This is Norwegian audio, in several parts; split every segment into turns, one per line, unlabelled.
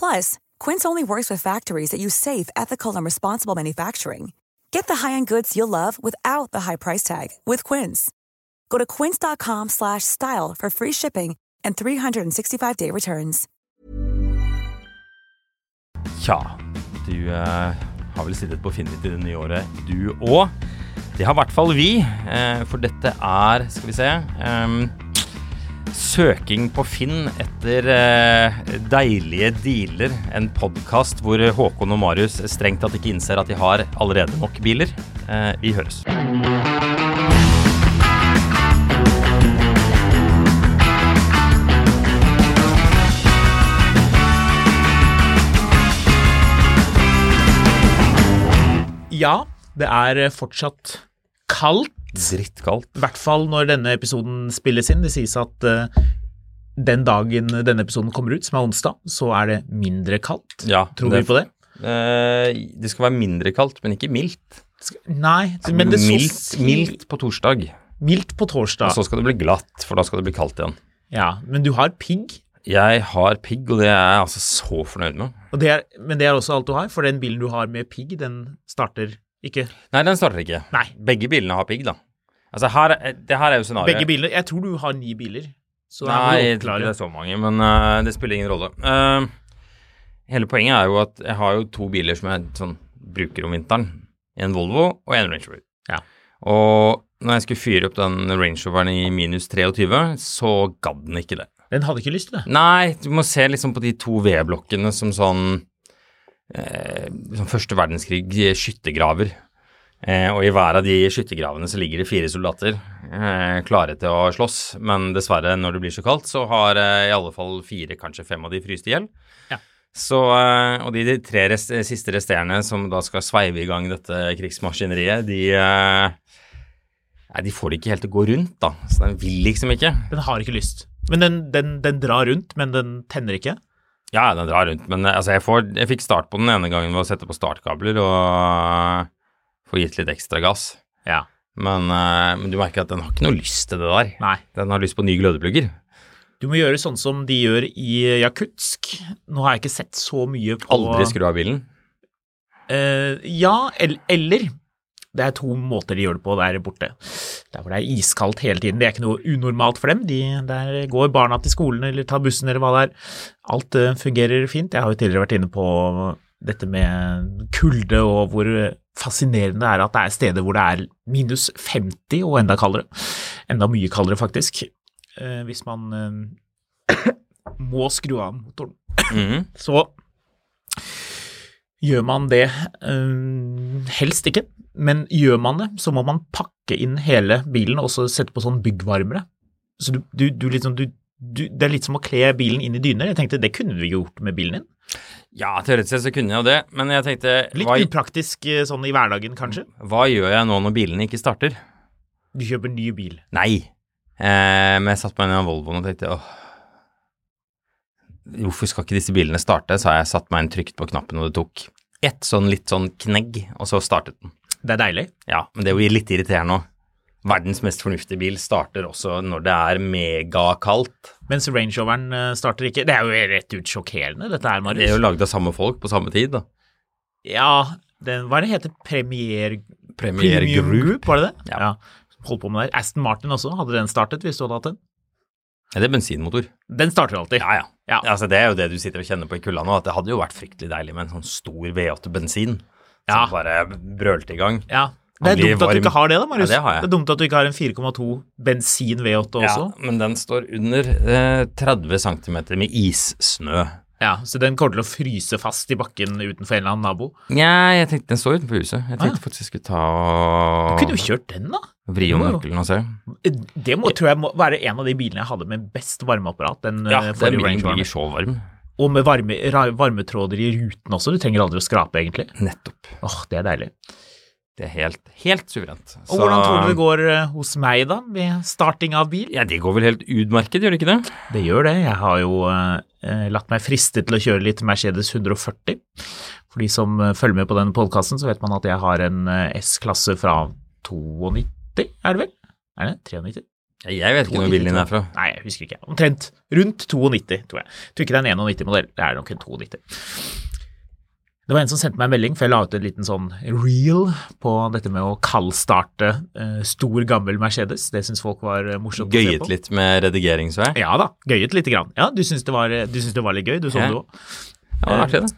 Plus, Quince only works with factories that use safe, ethical, and responsible manufacturing. Get the high-end goods you'll love without the high price tag with Quince. Go to quince.com/style slash style for free shipping and 365-day returns.
Tja, du eh, har vel sittet på Finit i det nye året, du òg. Det har i hvert fall vi, eh, for dette er, skal vi se ehm, Søking på Finn etter eh, deilige dealer. En podkast hvor Håkon og Marius strengt tatt ikke innser at de har allerede nok biler. Eh, vi høres.
Ja, det er eh, fortsatt kaldt.
Drittkaldt.
I hvert fall når denne episoden spilles inn. Det sies at eh, den dagen denne episoden kommer ut, som er onsdag, så er det mindre kaldt.
Ja,
Tror vi på det?
Eh, det skal være mindre kaldt, men ikke mildt.
Skal- Nei, men det så
Altså, mildt,
si-
mildt Altså, på torsdag.
mildt på
Og
torsdag.
så skal det bli glatt, for da skal det bli kaldt igjen.
Ja, men du har pigg,
Jeg har pigg, og det er jeg altså så fornøyd med.
og det er, men det er også alt du har, for den bilen du har med pigg, den starter ikke.
Nei, den starter ikke.
Nei.
Begge bilene har pigg, da. Altså, her, det her er jo scenarioet.
Begge biler. Jeg tror du har ni biler. Så da må
Nei, jeg
du oppklare.
tror ikke det er så mange, men øh, det spiller ingen rolle. Eh, hele poenget er jo at jeg har jo to biler som jeg sånn, bruker om vinteren. En Volvo og en Range Rover.
Ja.
Og når jeg skulle fyre opp den Range Roveren i minus 23, så gadd den ikke det.
Den hadde ikke lyst til det.
Nei, du må se liksom på de to V-blokkene som sånn eh, Som første verdenskrig eh, skyttergraver. Eh, og i hver av de skyttergravene så ligger det fire soldater eh, klare til å slåss. Men dessverre, når det blir så kaldt, så har eh, i alle fall fire, kanskje fem av de fryst i hjel.
Ja.
Så, eh, og de, de tre rest, siste resterende som da skal sveive i gang dette krigsmaskineriet, de eh, Nei, de får det ikke helt til å gå rundt, da. Så den vil liksom ikke.
Den har ikke lyst. Men den, den, den drar rundt, men den tenner ikke.
Ja, den drar rundt, men eh, altså, jeg, får, jeg fikk start på den ene gangen ved å sette på startkabler og eh, få gitt litt ekstra gass.
Ja.
Men, eh, men du merker at den har ikke noe lyst til det der.
Nei.
Den har lyst på nye glødeplugger.
Du må gjøre sånn som de gjør i Jakutsk. Nå har jeg ikke sett så mye på
Aldri skru av bilen.
Eh, ja, el eller Det er to måter de gjør det på der borte. Der hvor det er iskaldt hele tiden. Det er ikke noe unormalt for dem. De, der går barna til skolen eller tar bussen eller hva det er. Alt eh, fungerer fint. Jeg har jo tidligere vært inne på dette med kulde og hvor fascinerende det er at det er steder hvor det er minus 50 og enda kaldere. Enda mye kaldere, faktisk. Eh, hvis man eh, må skru av motoren.
Mhm.
Så gjør man det øhm, helst ikke, men gjør man det, så må man pakke inn hele bilen og så sette på sånn byggvarmere. Så du, du, du liksom du, du, Det er litt som å kle bilen inn i dyner. Jeg tenkte det kunne du gjort med bilen din.
Ja, teoretisk sett så kunne jeg jo det, men jeg tenkte
Litt
hva,
upraktisk eh, sånn i hverdagen, kanskje.
hva gjør jeg nå når bilene ikke starter?
Du kjøper ny bil.
Nei. Eh, men jeg satt meg inn i den Volvoen og tenkte åh, hvorfor skal ikke disse bilene starte? Så har jeg satt meg inn trygt på knappen, og det tok ett sånn litt sånn knegg, og så startet den.
Det er deilig.
Ja, men det er jo litt irriterende òg. Verdens mest fornuftige bil starter også når det er megakaldt.
Mens Range Roveren eh, starter ikke. Det er jo rett ut sjokkerende, dette her,
Det er jo
Marius.
lagd av samme folk på samme tid, da.
Ja, den, hva er det heter? Premier...
Premier
Premium
Group.
var det det?
Ja.
Holdt på med det. der. Aston Martin også, hadde den startet hvis du hadde hatt den?
Er det bensinmotor?
Den starter alltid.
Ja, ja.
Ja.
Altså, det er jo det du sitter og kjenner på i kulda nå, at det hadde jo vært fryktelig deilig med en sånn stor V8-bensin som
Ja.
bare brølte i gang.
Ja. Det er
blir
dumt at du
varm.
ikke har det, da, Marius.
Ja, det har jeg.
er dumt at du ikke har en 4,2 bensin V8 også.
Ja, men den står under eh, 30 cm med issnø.
Ja, Så den kommer til å fryse fast i bakken utenfor en eller annen nabo.
Nei, jeg tenkte den står utenfor huset. Jeg tenkte faktisk jeg skulle ta
Ah, Du
og
kunne jo kjørt den, da.
vri om nøkkelen og se.
Det må, tror jeg må være en av de bilene jeg hadde med best varmeapparat. Den,
Ja,
eh, forrige
den bilen
Range Rover.
blir så varm.
Og med varme, ra, varmetråder i ruten også. Du trenger aldri å skrape, egentlig.
Nettopp.
Åh, Det er deilig.
Det er helt, helt suverent.
Og hvordan tror du det går eh, hos meg, da, med starting av bil?
Ja, det går vel helt utmerket, gjør det ikke det?
Det gjør det. Jeg har jo eh, latt meg friste til å kjøre litt Mercedes 140. For de som eh, følger med på denne podkasten, så vet man at jeg har en eh, S-klasse fra 92, er det vel? Er det 93?
Ja, Jeg vet ikke hvor bilen din er fra.
Nei, jeg husker ikke. Omtrent rundt 92, tror jeg. Jeg tror ikke det er en 91-modell, det er nok en 92. Det var en som sendte meg en melding, for jeg la ut en liten sånn reel på dette med å kaldstarte eh, stor, gammel Mercedes. Det syns folk var eh, morsomt å se på.
Gøyet litt med redigeringsvei. Ja,
Ja da, gøyet lite grann. Ja, du syns det, var- du syns det var litt gøy, du så
Ja.
det òg.
det var artig, det.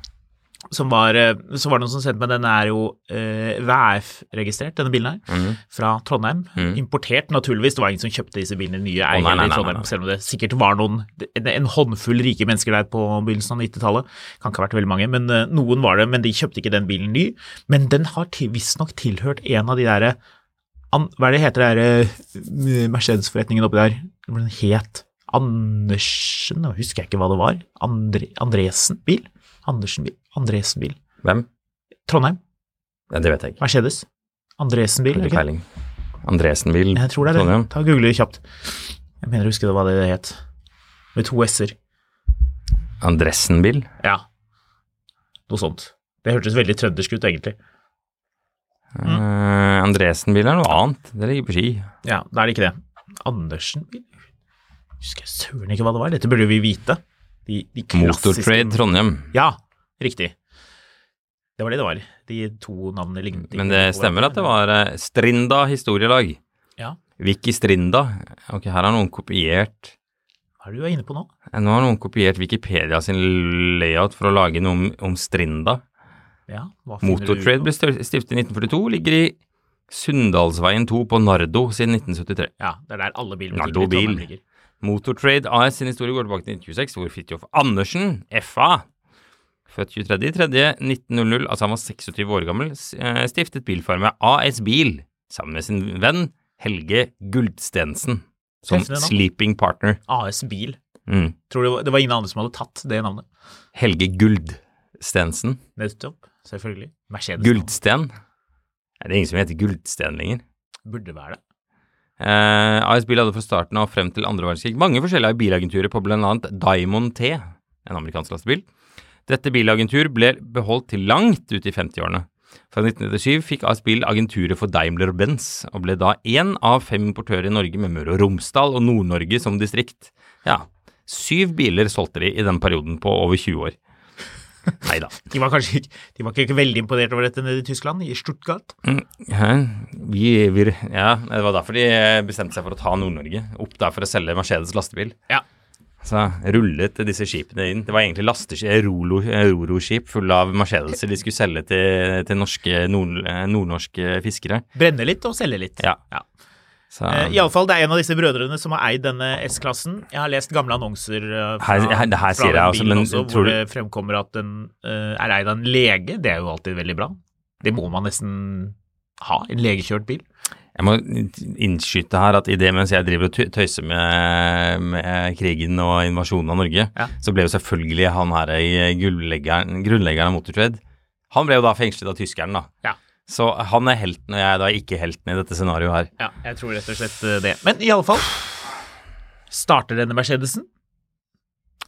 Som var, eh, så var det noen som sendte meg den er jo eh, VF-registrert, denne bilen her,
Mhm.
fra Trondheim. Importert, naturligvis. Det var ingen som kjøpte disse bilene nye
nei,
eiere
nei,
i
nei,
Trondheim,
nei.
selv om det sikkert var noen en, en håndfull rike mennesker der på begynnelsen av 90-tallet. Kan ikke ha vært veldig mange, men eh, noen var det. Men de kjøpte ikke den bilen ny. Men den har til, visstnok tilhørt en av de derre An- Hva er det heter det der eh, Mercedes-forretningen oppi der? Hva den het Andersen, nå husker jeg ikke hva det var. Andre, Andresen bil? Andersen bil? Andresen bil.
Hvem?
Trondheim,
Ja, det vet jeg ikke.
Mercedes. Andresen bil,
Ikke
ikke?
peiling. Andresen vil
Jeg tror det er det.
Trondheim.
Ta og Google det kjapt. Jeg mener å huske det hva det het. Med to s-er.
Andresen vil?
Ja. Noe sånt. Det hørtes veldig trøndersk ut, egentlig. Mm.
Eh, Andresen vil er noe annet. Det ligger på ski.
Ja, da er det ikke det. Andersen bil? Husker jeg søren ikke hva det var. Dette burde vi vite. De, de klassiske-
Motortrade Trondheim.
Ja, riktig. Det var det det var. De to navnene lignet ikke
Men det
på
stemmer
hverandre.
at det var eh, Strinda historielag.
Ja.
Vicky Strinda. Ok, her har noen kopiert
Hva er det du er inne på nå?
Eh, Nå har noen kopiert Wikipedia sin layout for å lage noe om, om Strinda.
Ja, hva finner du
Motortrade
ut
ble
nå?
stør- stiftet i 1942, ligger i Sunndalsveien 2 på Nardo siden 1973.
Ja, det er der alle
Nardo
bilbutikker i Trondheim
bil.
ligger.
Motortrade AS sin historie går tilbake til 1926, hvor Fridtjof Andersen, FA, født 23.3.1900, altså han var 26 år gammel, s- eh, stiftet bilfarmet AS Bil sammen med sin venn Helge Guldstensen som
Treffende navn.
sleeping partner.
AS Bil.
Mm.
Tror du det var- det var ingen andre som hadde tatt det navnet?
Helge Guldstensen.
Nettopp, selvfølgelig. Mercedes
Guldsten? Nei, det er ingen som heter Guldsten lenger.
burde være det.
Eh, AS Bil hadde fra starten av frem til andre verdenskrig mange forskjellige bilagenturer på blant annet Diamond T, en amerikansk lastebil. Dette bilagentur ble beholdt til langt ut i 50-årene. Fra 1997 fikk AS Bil agenturet for Daimler-Benz, og ble da én av fem importører i Norge med Møre og Romsdal og Nord-Norge som distrikt. Ja, syv biler solgte de i den perioden på over 20 år. Nei da.
De var kanskje ikke, de var ikke veldig imponert over dette nede i Tyskland, i Stuttgart.
Hæ? Vi, vi, ja, det var derfor de bestemte seg for å ta Nord-Norge opp der for å selge Mercedes lastebil.
Ja.
Så rullet disse skipene inn. Det var egentlig lasteskip, rolo- roro-skip fulle av Mercedeser de skulle selge til, til norske, nord, nordnorske fiskere.
Brenne litt og selge litt.
Ja.
ja.
Så,
Eh,
her,
Iallfall, det er en av disse brødrene som har eid denne S-klassen. Jeg har lest gamle annonser eh, fra,
her, det
fra
her sier
den
jeg også,
bilen
men
også,
tror
hvor
du
det fremkommer at den eh, er eid av en lege. Det er jo alltid veldig bra. Det må man nesten ha, en legekjørt bil.
Jeg må innskyte her at i det mens jeg driver og tø- tøyser med, med krigen og invasjonen av Norge,
Ja.
så ble jo selvfølgelig han her i grunnleggeren, grunnleggeren av Motortrade Han ble jo da fengslet av tyskeren, da.
Ja.
Så han er helten, og jeg er da ikke helten i dette scenarioet her.
Ja, jeg tror rett og slett eh, det. Men iallfall starter denne Mercedesen.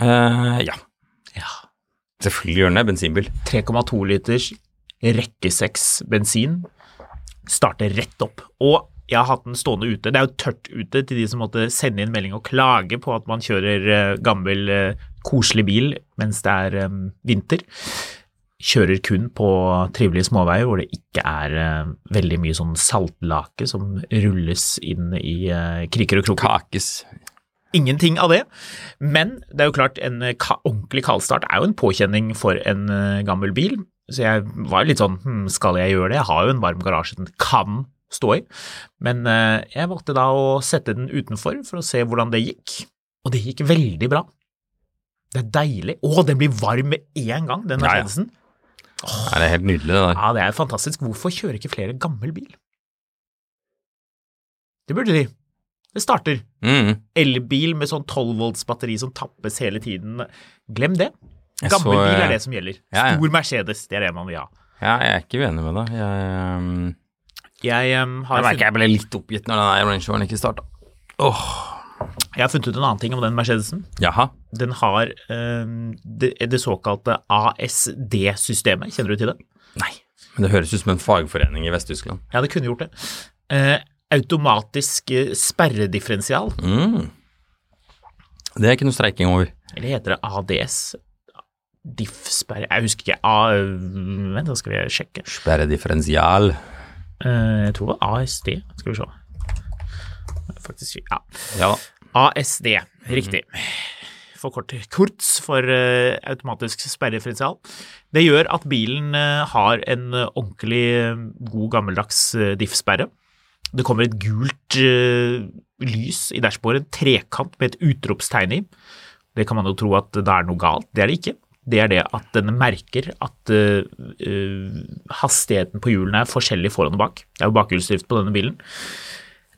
Eh, ja,
Ja.
selvfølgelig gjør den det. Bensinbil.
3,2 liters rekke 6 bensin starter rett opp. Og jeg har hatt den stående ute. Det er jo tørt ute til de som måtte sende inn melding og klage på at man kjører eh, gammel, eh, koselig bil mens det er eh, vinter. Kjører kun på trivelige småveier hvor det ikke er eh, veldig mye sånn saltlake som rulles inn i eh, kriker og kroker.
Kakes.
Ingenting av det. Men det er jo klart, en eh, ka ordentlig kaldstart er jo en påkjenning for en eh, gammel bil. Så jeg var jo litt sånn hm, Skal jeg gjøre det? Jeg har jo en varm garasje den kan stå i. Men eh, jeg valgte da å sette den utenfor for å se hvordan det gikk. Og det gikk veldig bra. Det er deilig. Å, den blir varm med en gang, den
Ja, ja.
Mercedesen.
Er det er helt nydelig, det der.
Ja, det er fantastisk. Hvorfor kjører ikke flere gammel bil? Det burde de. Det starter.
Mm.
Elbil med sånn 12 volts batteri som tappes hele tiden. Glem det.
Jeg
Gammel
så,
bil
eh,
er det som gjelder.
ja, ja.
Stor Mercedes, det er det man vil ha.
Ja, jeg er ikke uenig med deg. Jeg, um,
Jeg, em, har
jeg
funnet,
merker jeg ble litt oppgitt når den der Range Roveren ikke starta.
jeg har funnet ut en annen ting om den Mercedesen.
Jaha.
Den har em, det, det såkalte ASD-systemet. Kjenner du til det?
Nei. Men det høres ut som en fagforening i Vest-Tyskland.
Ja, det kunne gjort det. Eh, automatisk eh, sperredifferensial.
Mm. Det er ikke noe streiking over.
Eller heter det ADS? Diff-sperre Jeg husker ikke. A, vent, da skal vi sjekke.
Sperre differensial.
Eh, jeg tror det var ASD. Skal vi se. Faktisk, ja.
Ja da.
ASD. Riktig. For kort, korts for eh, automatisk sperredifferensial. Det gjør at bilen eh, har en eh, ordentlig eh, god gammeldags eh, diff-sperre. Det kommer et gult eh, lys i dashbordet, en trekant med et utropstegn i. Det kan man jo tro at det er noe galt. Det er det ikke. Det er det at den merker at eh, eh, hastigheten på hjulene er forskjellig foran og bak. Det er jo bakhjulsdrift på denne bilen.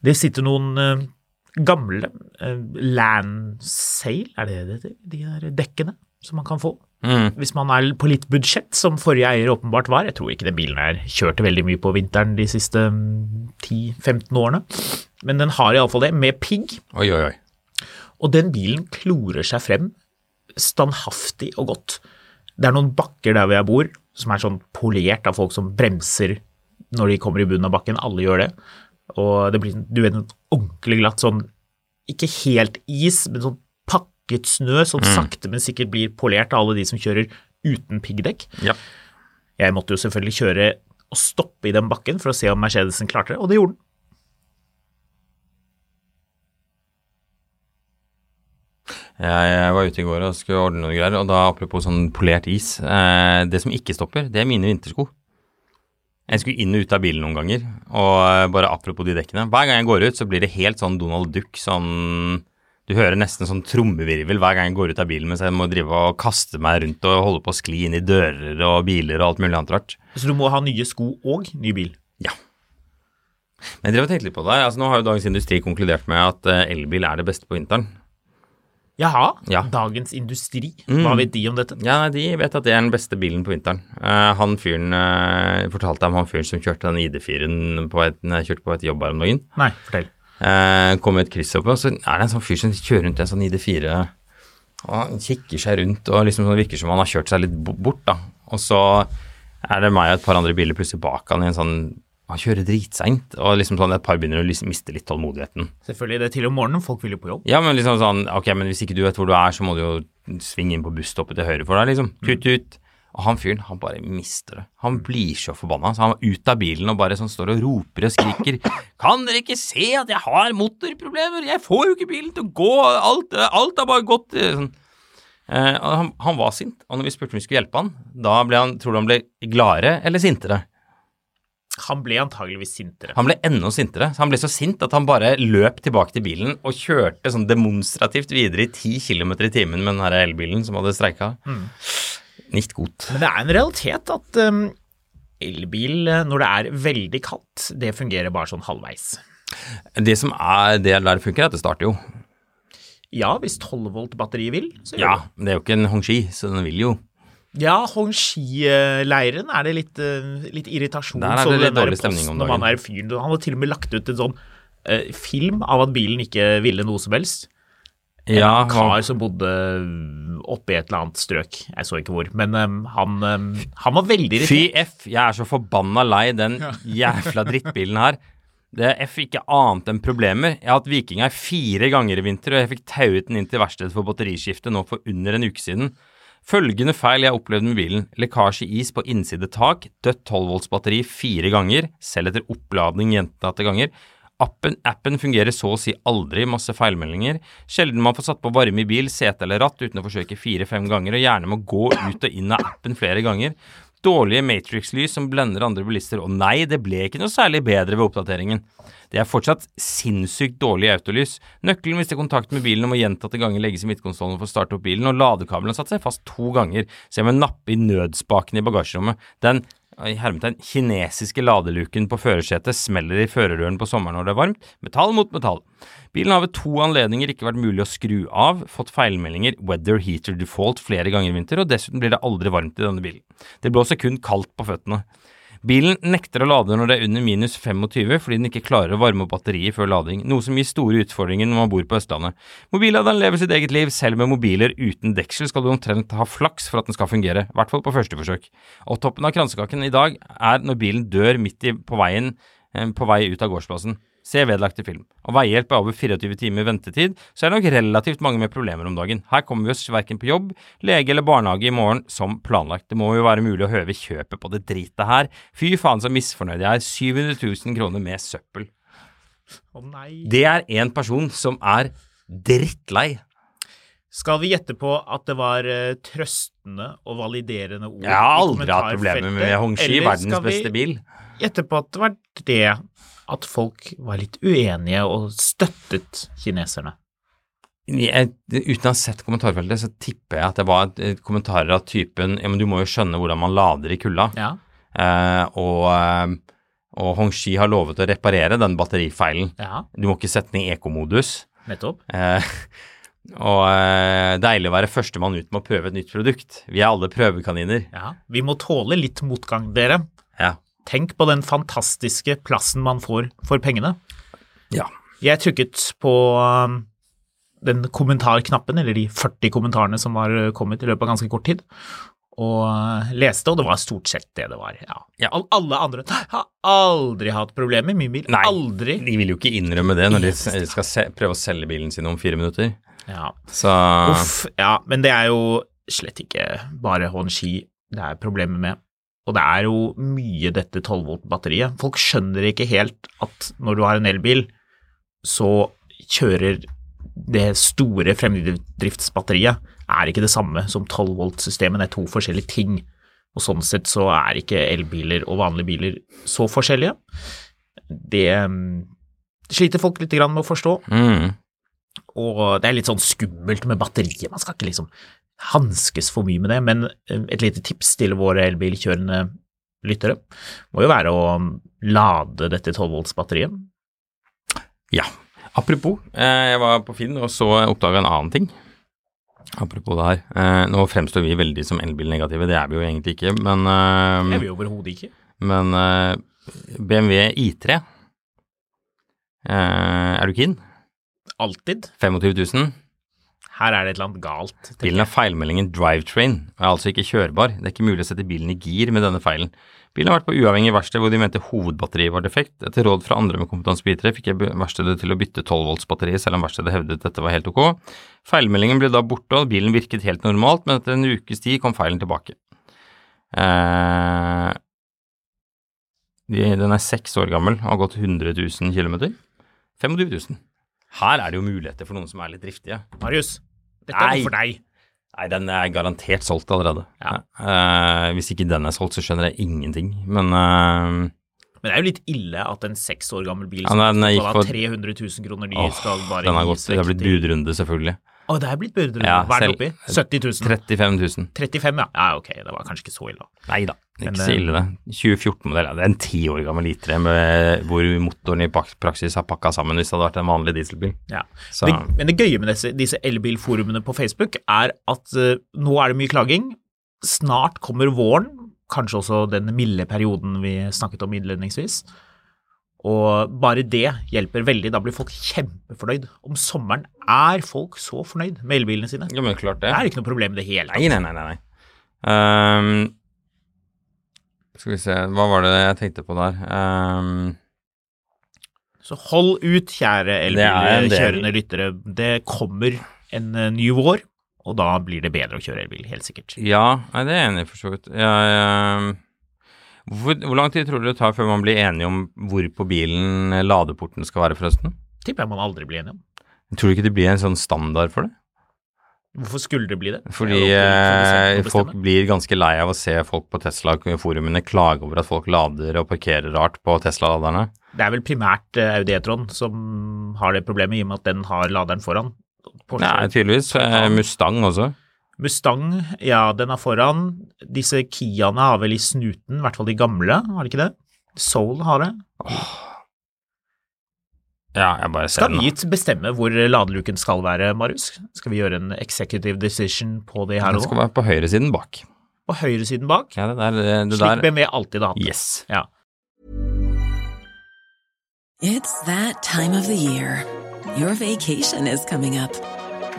Det sitter noen eh, gamle uh, landsail, er det det heter? De der dekkene som man kan få. Hvis man er på litt budsjett, som forrige eier åpenbart var. Jeg tror ikke den bilen her kjørte veldig mye på vinteren de siste mm, 10-15 årene. Men den har iallfall det, med pigg.
Oi, oi, oi.
Og den bilen klorer seg frem standhaftig og godt. Det er noen bakker der hvor jeg bor, som er sånn polert av folk som bremser når de kommer i bunnen av bakken. Alle gjør det. Og det blir sånn- du vet, en ordentlig glatt sånn Ikke helt is, men sånn pakket snø som sakte, men sikkert blir polert av alle de som kjører uten piggdekk.
Ja.
Jeg måtte jo selvfølgelig kjøre og stoppe i den bakken for å se om Mercedesen klarte det, og det gjorde den.
Jeg jeg var ute i går og skulle ordne noe greier, og da apropos sånn polert is eh, Det som ikke stopper, det er mine vintersko. Jeg skulle inn og ut av bilen noen ganger, og eh, bare apropos de dekkene Hver gang jeg går ut, så blir det helt sånn Donald Duck, sånn Du hører nesten sånn trommevirvel hver gang jeg går ut av bilen mens jeg må drive og kaste meg rundt og holde på å skli inn i dører og biler og alt mulig annet rart.
Så du må ha nye sko og ny bil.
Ja. Men jeg drev og tenkte litt på det. her. Altså, nå har jo Dagens Industri konkludert med at eh, elbil er det beste på vinteren.
Jaha,
Ja. Mm.
Dagens Industri, hva vet de om dette?
Ja, nei, de vet at det er den beste bilen på vinteren. Eh, han fyren eh, fortalte om han fyren som kjørte den ID4-en på et, når jeg kjørte på et jobb her om dagen.
Nei, fortell.
Eh, kom i et kryss opp, og så er det en sånn fyr som kjører rundt i en sånn ID4 og han kikker seg rundt og liksom sånn virker som han har kjørt seg litt bo- bort, da. Og så er det meg og et par andre biler plutselig bak han i en sånn Han kjører dritseint, og liksom sånn et par begynner å liksom miste litt tålmodigheten.
Selvfølgelig, det er til om morgenen, folk vil jo på jobb.
Ja, men liksom sånn, ok, men hvis ikke du vet hvor du er, så må du jo svinge inn på busstoppet til høyre for deg, liksom. Tut, tut. Og han fyren, han bare mister det. Han blir så forbanna. Så han var ut av bilen og bare sånn står og roper og skriker. Kan dere ikke se at jeg har motorproblemer? Jeg får jo ikke bilen til å gå. Alt, alt er bare gått eh, sånn. Eh, og han, han var sint, og når vi spurte om vi skulle hjelpe han, da ble han, tror du han ble gladere eller sintere?
Han ble antageligvis sintere.
Han ble enda sintere. Så han ble så sint at han bare løp tilbake til bilen og kjørte sånn demonstrativt videre i 10 km i timen med den her elbilen som hadde streika. Nicht godt.
Men det er en realitet at um, elbil, eh, når det er veldig kaldt, det fungerer bare sånn halvveis.
Det som er det der det funker, er at det starter jo.
Ja, hvis 12 volt batteriet vil, så gjør
Ja, men det er jo ikke en Hongxi, så den vil jo.
det. Ja, Hongxi-leiren er det litt, eh, litt irritasjon.
Der er det
så
litt
den der
dårlig stemning om
posten om han
dagen.
er fyren. Han har til og med lagt ut en sånn eh, film av at bilen ikke ville noe som helst.
Ja,
en kar som bodde oppe i et eller annet strøk. Jeg så ikke hvor. Men um, han, um, han var veldig irritert.
Fy F, jeg er så forbanna lei den jævla drittbilen her. Det er F ikke annet enn problemer. Jeg har hatt Viking her fire ganger i vinter, og jeg fikk tauet den inn til verkstedet for batteriskifte nå for under en uke siden. Følgende feil jeg opplevde med bilen. Lekkasje i is på innside tak, dødt 12 volts batteri fire ganger, selv etter oppladning gjentatte ganger. Appen, appen fungerer så å si aldri, masse feilmeldinger. Sjelden man får satt på varme i bil, sete eller ratt uten å forsøke fire-fem ganger, og gjerne må gå ut og inn av appen flere ganger. Dårlige Matrix-lys som blender andre bilister, og nei, det ble ikke noe særlig bedre ved oppdateringen. Det er fortsatt sinnssykt dårlig autolys. Nøkkelen mister kontakt med bilen og må gjentatte ganger legges i midtkonsollen for å starte opp bilen, og ladekabelen har satt seg fast to ganger, så jeg må nappe i nødspaken i bagasjerommet. Den i hermetegn kinesiske ladeluken på førersetet smeller i førerdøren på sommeren når det er varmt, metall mot metall. Bilen har ved to anledninger ikke vært mulig å skru av, fått feilmeldinger, weather heater default flere ganger i vinter, og dessuten blir det aldri varmt i denne bilen. Det blåser kun kaldt på føttene. Bilen nekter å lade når det er under minus 25 fordi den ikke klarer å varme opp batteriet før lading, noe som gir store utfordringer når man bor på Østlandet. Mobilladeren lever sitt eget liv, selv med mobiler uten deksel skal du omtrent ha flaks for at den skal fungere, i hvert fall på første forsøk. Og toppen av kransekaken i dag er når bilen dør midt i, på veien eh, på vei ut av gårdsplassen. Se vedlagte film. Og veihjelp er over 24 timer ventetid, så er det nok relativt mange med problemer om dagen. Her kommer vi oss verken på jobb, lege eller barnehage i morgen som planlagt. Det må jo være mulig å høve kjøpet på det dritet her. Fy faen så misfornøyd jeg er. 700 000 kroner med søppel.
Å nei.
Det er en person som er drittlei.
Skal vi gjette på at det var eh, trøstende og validerende ord?
Jeg har
i
aldri hatt problemer med
kommentarfeltet,
Hongxi,
eller
verdens
skal vi
beste bil.
Gjette på at det var det at folk var litt uenige og støttet kineserne.
jeg, eh, uten å ha sett kommentarfeltet, så tipper jeg at det var eh, kommentarer av typen ja, men du må jo skjønne hvordan man lader i kulda.
Ja.
Eh, og eh, og Hongxi har lovet å reparere den batterifeilen.
ja.
Du må ikke sette den i ekomodus.
Nettopp.
Eh, og eh, deilig å være førstemann ut med å prøve et nytt produkt. Vi er alle prøvekaniner.
Ja. Vi må tåle litt motgang, dere.
Ja.
Tenk på den fantastiske plassen man får for pengene.
ja.
Jeg trykket på um, den kommentarknappen, eller de 40 kommentarene som var uh, kommet i løpet av ganske kort tid, og uh, leste, og det var stort sett det det var. Ja.
Ja.
Al- Alle andre har aldri hatt problemer med min bil.
Nei,
Aldri.
De vil jo ikke innrømme det når de s- skal se, prøve å selge bilen sin om fire minutter.
Ja.
Så
Uff, ja, men det er jo slett ikke bare Honshi det er problemer med. Og det er jo mye dette 12 volt-batteriet. Folk skjønner ikke helt at når du har en elbil, så kjører det store fremdriftsbatteriet er ikke det samme som 12 volt-systemet, det er to forskjellige ting. Og sånn sett så er ikke elbiler og vanlige biler så forskjellige. Det mm, sliter folk litt grann med å forstå.
mm.
Og det er litt sånn skummelt med batteriet, man skal ikke liksom hanskes for mye med det, men eh, et lite tips til våre elbilkjørende lyttere må jo være å um, lade dette 12 volts batteriet.
Ja. Apropos, eh, jeg var på Finn og så oppdaga en annen ting. Apropos det her. Eh, nå fremstår vi veldig som elbilnegative, det er vi jo egentlig ikke, men,
Det
eh,
vil jo overhodet ikke.
men eh, BMW I3 eh, Er du keen?
Alltid.
25 000.
Her er det et eller annet galt. tenker
Bilen har feilmeldingen drivetrain og er altså ikke kjørbar. Det er ikke mulig å sette bilen i gir med denne feilen. Bilen har vært på uavhengig verksted hvor de mente hovedbatteriet var defekt. Etter råd fra andre med kompetanse på IT fikk jeg verkstedet til å bytte 12 volts-batteriet, selv om verkstedet hevdet dette var helt ok. Feilmeldingen ble da borte, og bilen virket helt normalt, men etter en ukes tid kom feilen tilbake. Eh, de- den er seks år gammel og har gått 100 000 km. 25 000. Her er det jo muligheter for noen som er litt driftige.
jeg. Marius, dette er
Nei.
noe for deg.
Nei, den er garantert solgt allerede.
Ja.
Eh, hvis ikke den er solgt, så skjønner jeg ingenting. Men eh,
Men det er jo litt ille at en seks år gammel bil
Ja, den gikk
koster
for-
300 000 kroner, de
åh,
skal bare
den har
gis
gått, det har
vekk
blitt
til-
budrunde, selvfølgelig.
Å, det er blitt budrunde.
Ja,
Hva er den
selv-
oppi? 70 000?
35 000.
35, ja. Ja, ok, det var kanskje ikke så ille.
Nei da. Ikke
Men,
så ille, det. 2014-modell. ja, Det er en ti år gammel litre med, hvor motoren i pak- praksis har pakka sammen hvis det hadde vært en vanlig dieselbil.
Ja.
Så-
Det, men det gøye med disse, disse elbilforumene på Facebook er at eh, nå er det mye klaging. Snart kommer våren, kanskje også den milde perioden vi snakket om innledningsvis. Og bare det hjelper veldig. Da blir folk kjempefornøyd. Om sommeren er folk så fornøyd med elbilene sine.
Ja, men klart
Det er ikke noe problem i det hele tatt.
Nei, nei, nei, nei. nei. Ehm, skal vi se, hva var det jeg tenkte på der? Ehm,
Så hold ut, kjære
Det er en del.
elbilkjørende lyttere. Det kommer en eh, ny vår, og da blir det bedre å kjøre elbil, helt sikkert.
Ja, nei, det er jeg enig i for så vidt. Jeg, ehm, hvor, hvor lang tid tror du det tar før man blir enige om hvor på bilen ladeporten skal være, forresten?
Tipper jeg man aldri blir enig om.
Tror du ikke det blir en sånn standard for det?
Hvorfor skulle det bli det?
Fordi
Det er jo
eh,
opp til produsenten å
folk
bestemme.
blir ganske lei av å se folk på Tesla-forumene klage over at folk lader og parkerer rart på Tesla-laderne.
Det er vel primært eh, Audi E-tron som har det problemet, i og med at den har laderen foran. Porsche-
Nei, tydeligvis. Eh, Mustang også.
Mustang, ja, den er foran. Disse Kiaene har vel i snuten, i hvert fall de gamle, har de ikke det? Soul har det.
Ja, jeg bare ser
Skal
den.
vi
nå.
bestemme hvor ladeluken skal være, Marius? Skal vi gjøre en executive decision på det her
Den
og
skal
nå?
være på høyresiden bak.
På høyresiden bak,
Ja, det der, eh, det
slik
der.
BMW alltid har hatt. det.
Yes.
Ja.
It's that time of the year. Your vacation is coming up.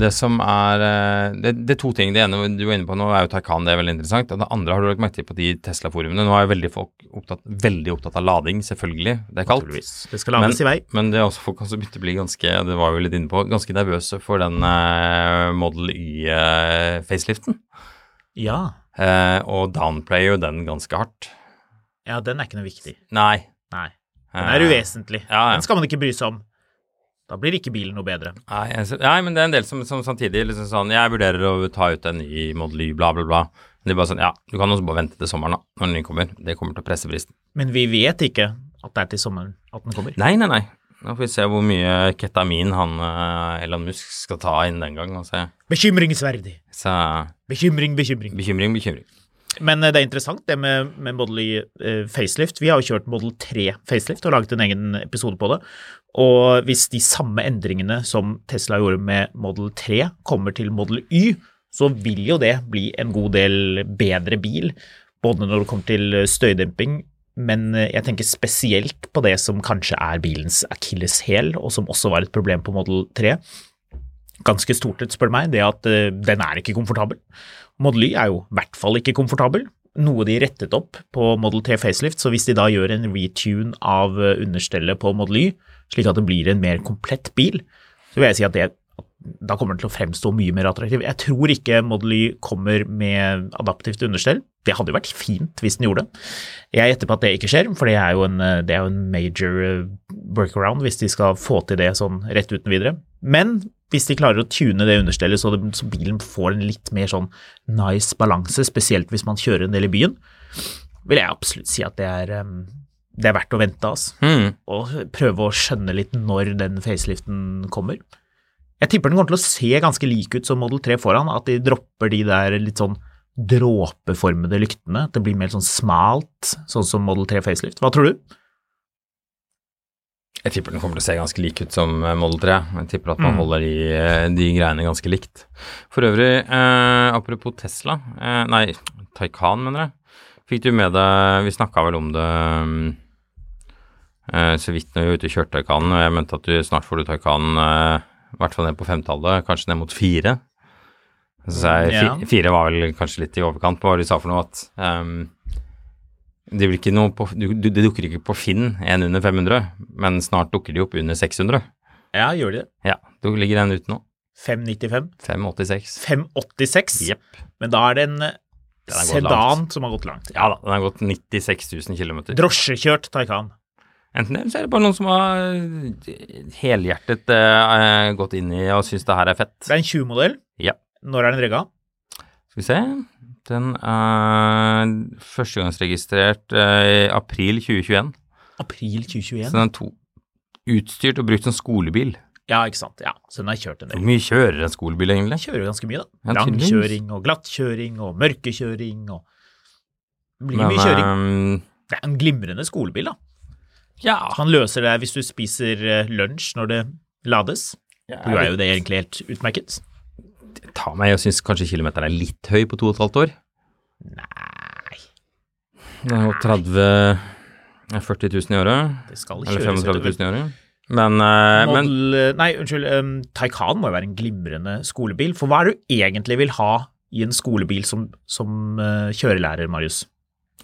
Det som er eh, Det, det er to ting. Det ene du var inne på nå, er jo Taycan. Det er veldig interessant. Og det andre har du lagt merke til på de Tesla-forumene. Nå er jo veldig folk opptatt, veldig opptatt av lading, selvfølgelig. Det er kaldt.
Naturligvis. Det skal lades i vei.
men det er også folk kan så begynte å bli ganske det var vi jo litt inne på, ganske nervøse for den eh, Model Y-faceliften.
Ja.
Eh, og downplayer jo den ganske hardt.
ja, den er ikke noe viktig.
Nei.
Nei. Den er
Eh,
uvesentlig.
ja, ja.
Den skal man ikke bry seg om. Da blir ikke bilen noe bedre.
Nei, jeg ser- nei, men det er en del som, som samtidig liksom sånn Jeg vurderer å ta ut en ny Model Y, bla, bla, bla. Men det er bare sånn Ja, du kan også bare vente til sommeren, da. Når den kommer. Det kommer til å presse prisen.
Men vi vet ikke at det er til sommeren at den kommer.
Nei, nei, nei. Nå får vi se hvor mye ketamin han eh, Elon Musk skal ta inn den gang. Og se.
Bekymringsverdig.
Så
Bekymring, bekymring.
bekymring, bekymring.
Men eh, det er interessant det med, med Model Y eh, facelift. Vi har jo kjørt Model 3 facelift og laget en egen episode på det. Og hvis de samme endringene som Tesla gjorde med Model 3 kommer til Model Y, så vil jo det bli en god del bedre bil, både når det kommer til eh, støydemping, men eh, jeg tenker spesielt på det som kanskje er bilens akilleshæl, og som også var et problem på Model 3. Ganske stort et, spør du meg, det at eh, den er ikke komfortabel. Model Y er jo i hvert fall ikke komfortabel, noe de rettet opp på Model 3 facelift, så hvis de da gjør en retune av eh, understellet på Model Y, slik at det blir en mer komplett bil, så vil jeg si at det da kommer den til å fremstå mye mer attraktiv. Jeg tror ikke Model Y kommer med adaptivt understell. Det hadde jo vært fint hvis den gjorde det. Jeg gjetter på at det ikke skjer, for det er jo en, eh, det er jo en major eh, workaround hvis de skal få til det sånn rett uten videre. Men hvis de klarer å tune det understellet så, det, så bilen får en litt mer sånn nice balanse, spesielt hvis man kjører en del i byen, vil jeg absolutt si at det er, eh, det er verdt å vente, altså
Hmm.
og prøve å skjønne litt når den faceliften kommer. Jeg tipper den kommer til å se ganske lik ut som Model 3 foran, at de dropper de der litt sånn dråpeformede lyktene. At det blir mer sånn smalt, sånn som Model 3 facelift. Hva tror du?
Jeg tipper den kommer til å se ganske lik ut som eh, Model 3. Jeg tipper at man holder de, eh, de greiene ganske likt. For øvrig, eh, apropos Tesla eh, Nei, Taycan, mener jeg. Fikk du med deg Vi snakka vel om det mm, eh, så vidt når vi var ute og kjørte Taycanen, og jeg mente at du snart får du Taycanen eh, i hvert fall ned på femtallet, kanskje ned mot fire. Så sa jeg,
Ja.
fi- Fire var vel kanskje litt i overkant på hva du sa for noe, at ehm, det, blir ikke noe på, du, du, det dukker ikke på Finn en under 500, men snart dukker de opp under 600.
Ja, gjør de det?
Ja, da ligger den ute nå.
595?
586.
586?
Jepp.
Men da er det en eh,
har gått
sedan
langt.
som har gått langt.
Ja da, den har gått 96 000 km.
Drosjekjørt Taycan.
Enten det, eller så er det bare noen som har helhjertet eh, gått inn i og syns det her er fett.
Det er en 20-modell.
Ja.
Når er den rigga?
Skal vi se Den er førstegangsregistrert eh, i april 2021.
April
Så
2021.
den er to utstyrt og brukt som skolebil.
Ja, ikke sant. Ja, så den har kjørt en
Hvor
del.
mye kjører en skolebil, egentlig?
Den kjører jo ganske mye, da.
Mm. Ja, tydeligvis.
Langkjøring og glattkjøring og mørkekjøring og Det blir
Men,
mye kjøring.
ehm,
Det er en glimrende skolebil, da.
ja.
Han løser det hvis du spiser eh, lunsj når det lades.
Ja,
Du er jo det egentlig helt utmerket.
Ta meg, jeg syns kanskje kilometeren er litt høy på to og et halvt år.
Nei,
Det er jo 30 ja, 40 000 i året.
det skal
Eller
kjøres
35
utover.
000 i året. Men, eh, men
Model, nei, unnskyld. Um, Taycan må jo være en glimrende skolebil. For hva er det du egentlig vil ha i en skolebil som, som eh, kjørelærer, Marius?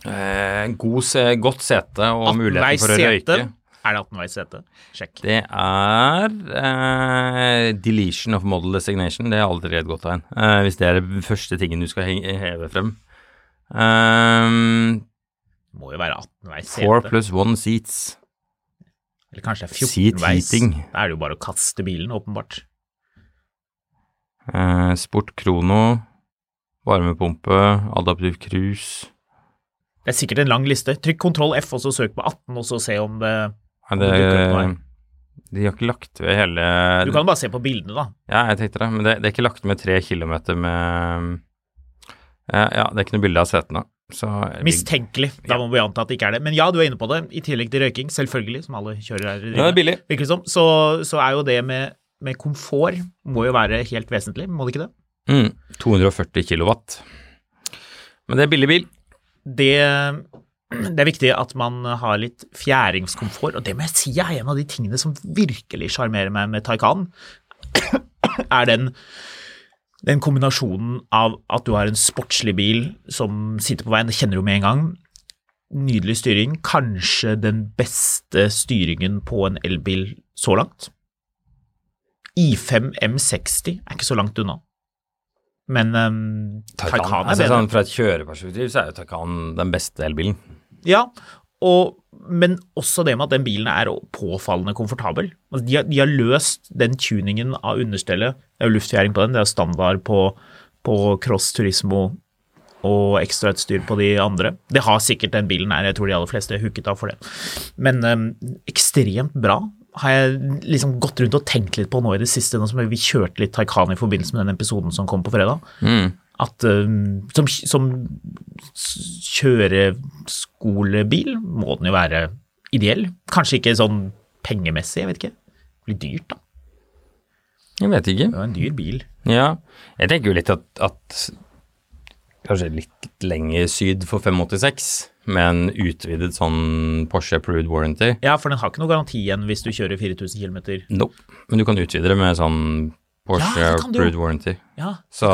eh, god, se- godt sete og
18-veis
muligheten for å
sete.
røyke.
Er det 18-veis sete? Sjekk.
Det er eh, deletion of model designation. Det er aldri et godt tegn. Eh, hvis det er det første tingen du skal he- heve frem. Um,
Det må jo være 18-veis
four
sete.
plus one seats.
Eller kanskje det er
Seat
14-veis.
heating.
Da er det jo bare å kaste bilen, åpenbart.
Eh, sport krono. Varmepumpe. Adaptiv cruise.
Det er sikkert en lang liste. Trykk kontroll F, og så søk på 18, og så se om eh, det
Nei,
Om det dukker opp noe
det, de har ikke lagt ved hele
Du kan bare se på bildene, da.
Ja, jeg tenkte det, men det, det er ikke lagt med tre kilometer med ja, ja, det er ikke noe bilde av setene. Så
Mistenkelig. Da må vi anta at det ikke er det. Men ja, du er inne på det. I tillegg til røyking, selvfølgelig, som alle kjører her.
Ja, det er billig.
Virker det som. Så, så er jo det med, med komfort må jo være helt vesentlig, må det ikke det?
Mm, 240 kilowatt. Men det er billig bil.
Det, det er viktig at man har litt fjæringskomfort, og det må jeg si er en av de tingene som virkelig sjarmerer meg med Taycan, er den den kombinasjonen av at du har en sportslig bil som sitter på veien, det kjenner du med en gang. Nydelig styring. Kanskje den beste styringen på en elbil så langt. I5 M60 er ikke så langt unna. Men um, Taycan, er
altså,
bedre.
sånn, fra et kjøreperspektiv så er jo Taycan den beste elbilen.
Ja, og, men også det med at den bilen er påfallende komfortabel. Altså, de, har, de har løst den tuningen av understellet. Det er jo luftfjæring på den, det er standard på, på Cross Turismo og ekstrautstyr på de andre. Det har sikkert den bilen her, jeg tror de aller fleste er hooket av for det. Men øhm, ekstremt bra. Har jeg liksom gått rundt og tenkt litt på nå i det siste, nå som vi kjørte litt Taycan i forbindelse med den episoden som kom på fredag at øhm, som, som s- kjøreskolebil må den jo være ideell. Kanskje ikke sånn pengemessig, jeg vet ikke. Det blir dyrt, da.
Jeg vet ikke.
Det er jo en dyr bil.
Ja. Jeg tenker jo litt at, at Kanskje litt lenger syd for 586, med en utvidet sånn Porsche approved warranty.
Ja, for den har ikke noe garanti igjen hvis du kjører 4000 km.
Nope. Men du kan utvide det med sånn Porsche
Ja, det kan du jo.
approved warranty.
Ja,
Så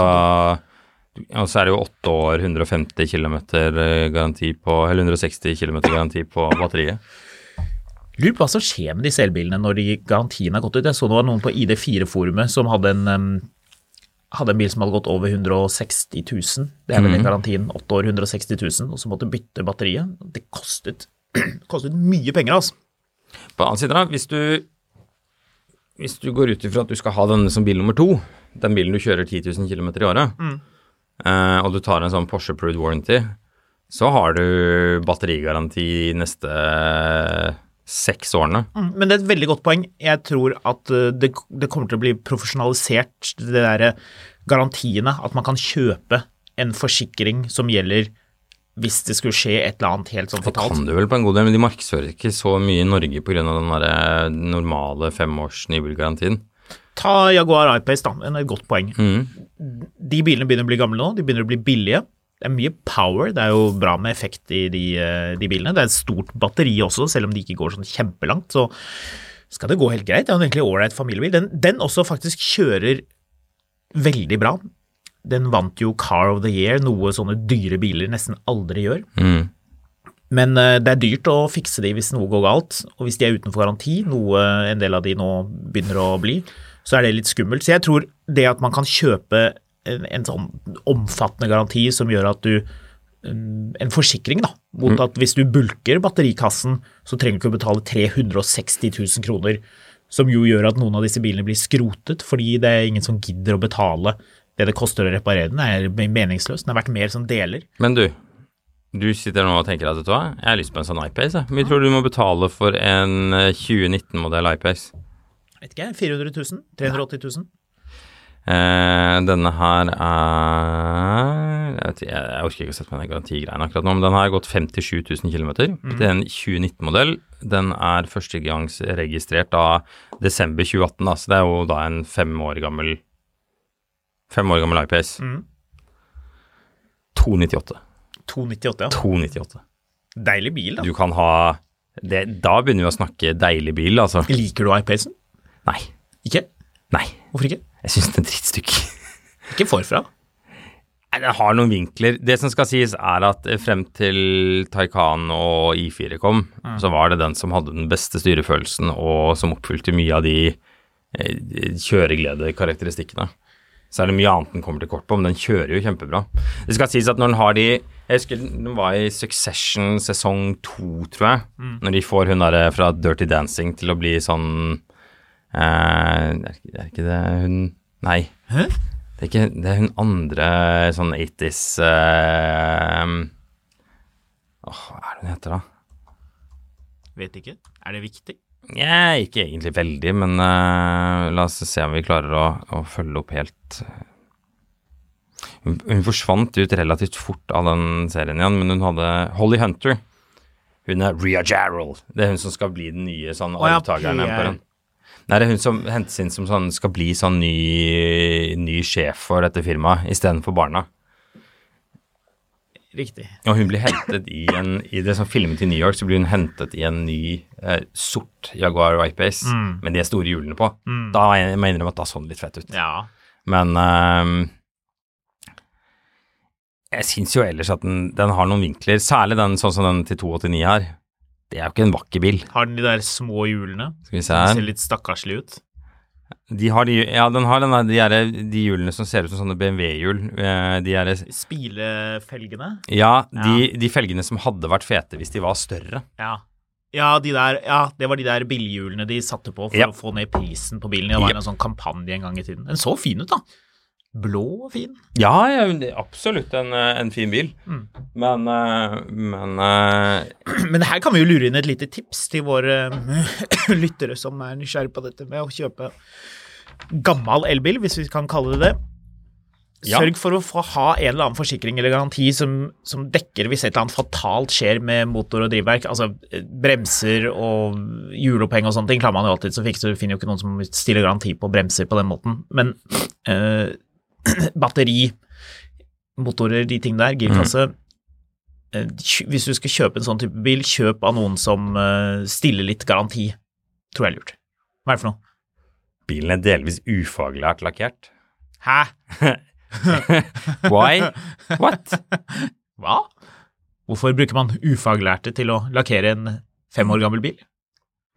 og så er det jo åtte år, 150 km eh, garanti på Eller 160 km garanti på batteriet.
Lurer på hva som skjer med disse elbilene når de garantien har gått ut. Jeg så det var noen på ID4-forumet som hadde en, em, hadde en bil som hadde gått over 160 000. Det er vel den garantien. Åtte år, 160 000, og så måtte bytte batteriet. Det kostet, kostet mye penger, altså.
På den annen side, da, hvis du, hvis du går ut ifra at du skal ha denne som bil nummer to, den bilen du kjører 10 000 km i året, eh, og du tar en sånn Porsche approved warranty, så har du batterigaranti de neste seks årene.
Men det er et veldig godt poeng. Jeg tror at eh, det, det kommer til å bli profesjonalisert, det derre garantiene. At man kan kjøpe en forsikring som gjelder hvis det skulle skje et eller annet helt sånn
Det kan
fatalt.
du vel på en god del, men de markedsfører ikke så mye i Norge pga. den der eh, normale femårs nybilgarantien.
Ta Jaguar I-Pace, da. Det er et godt poeng. De bilene begynner å bli gamle nå. De begynner å bli billige. Det er mye power. Det er jo bra med effekt i de, eh, de bilene. Det er et stort batteri også, selv om de ikke går sånn kjempelangt. Så skal det gå helt greit. Det er jo egentlig en ålreit familiebil. Den, den også faktisk kjører veldig bra. Den vant jo Car of the Year, noe sånne dyre biler nesten aldri gjør. Men eh, det er dyrt å fikse de hvis noe går galt, og hvis de er utenfor garanti, noe en del av de nå begynner å bli, så er det litt skummelt. Så jeg tror det at man kan kjøpe en, en sånn omfattende garanti som gjør at du mm, en forsikring da, mot at hvis du bulker batterikassen, så trenger du ikke å betale 360 000 kroner, som jo gjør at noen av disse bilene blir skrotet, fordi det er ingen som gidder å betale Det det koster å reparere den, er meningsløst. Den er verdt mer som deler.
Men du, du sitter nå og tenker at vet du hva, jeg har lyst på en sånn iPace. jeg. Hvor mye tror du du må betale for en eh, 2019-modell iPace?
Vet ikke, 400 000? 380 000?
Eh, denne her er jeg, vet, ikke, jeg, jeg orker ikke å sette meg ned i garantigreiene akkurat nå, men den har gått 57 000 km. Det er en 2019-modell. Den er førstegangsregistrert av desember 2018, da, så det er jo da en fem år gammel Fem år gammel IPS. 298.
298, ja.
298.
Deilig bil, da.
Du kan ha det, Da begynner vi å snakke deilig bil, altså.
Liker du iPacen?
Nei.
Ikke?
Nei.
Hvorfor ikke?
Jeg syns det er drittstykk.
Ikke forfra.
Nei, Den har noen vinkler. Det som skal sies er at eh, frem til Taycan og I4 kom, så var det den som hadde den beste styrefølelsen og som oppfylte mye av de eh, kjøregledekarakteristikkene. Så er det mye annet den kommer til kort på, men den kjører jo kjempebra. Det skal sies at når den har de Jeg husker den var i Succession sesong to, tror jeg. Når de får hun derre fra Dirty Dancing til å bli sånn eh, er, ikke- er ikke det hun Nei.
Hæ?
Det er ikke Det er hun andre sånn 80s eh, Åh, hva er det hun heter, da?
Vet ikke. Er det viktig?
Nja, ikke egentlig veldig, men eh, la oss se om vi klarer å, å følge opp helt hun, hun forsvant ut relativt fort av den serien igjen, men hun hadde Holly Hunter. Hun er Ria Jarrell. Det er hun som skal bli den nye sånn
Å ja,
arvtakeren.
PR.
på den. Nei, det er hun som hentes inn som sånn, skal bli sånn ny, ny sjef for dette firmaet istedenfor barna.
Riktig.
Og hun blir hentet i en I det som filmet i New York, så blir hun hentet i en ny eh, sort Jaguar Whitepace med de store hjulene på. Da må jeg innrømme at da så den litt fett ut.
Mm. Ja.
Men ehm, jeg syns jo ellers at den, den har noen vinkler, særlig den sånn som den til 289 her. Det er jo ikke en vakker bil.
Har den de der små hjulene?
Skal vi se
Den
her.
ser litt stakkarslig ut.
De har de, ja, den har den der, de, der, de hjulene som ser ut som sånne BMW-hjul. Eh, de er,
Spilefelgene?
ja, de, de felgene som hadde vært fete hvis de var større.
Ja. Ja, de der, ja, det var de der billighjulene de satte på for
Ja.
å få ned prisen på bilen. Det var
Ja.
en sånn kampanje en gang i tiden. Den så fin ut, da. Blå og fin.
Ja, ja hun- det er absolutt en, eh, en fin bil.
Mm.
Men, eh, men eh,
Men her kan vi jo lure inn et lite tips til våre eh, lyttere som er nysgjerrig på dette med å kjøpe gammel elbil, hvis vi kan kalle det det.
Ja.
Sørg for å få ha en eller annen forsikring eller garanti som, som dekker hvis et eller annet fatalt skjer med motor og drivverk. Altså eh, bremser og hjuloppheng og sånne ting klarer man jo alltid så fikse. Du finner jo ikke noen som stiller garanti på bremser på den måten. Men eh, batteri, motorer, de tingene der, girkasse eh, kjø- Hvis du skal kjøpe en sånn type bil, kjøp av noen som eh, stiller litt garanti. Tror jeg er lurt. Hva er det for noe?
bilen er delvis ufaglært lakkert.
Hæ?
Why? What?
Hva? Hvorfor bruker man ufaglærte til å lakkere en fem år gammel bil?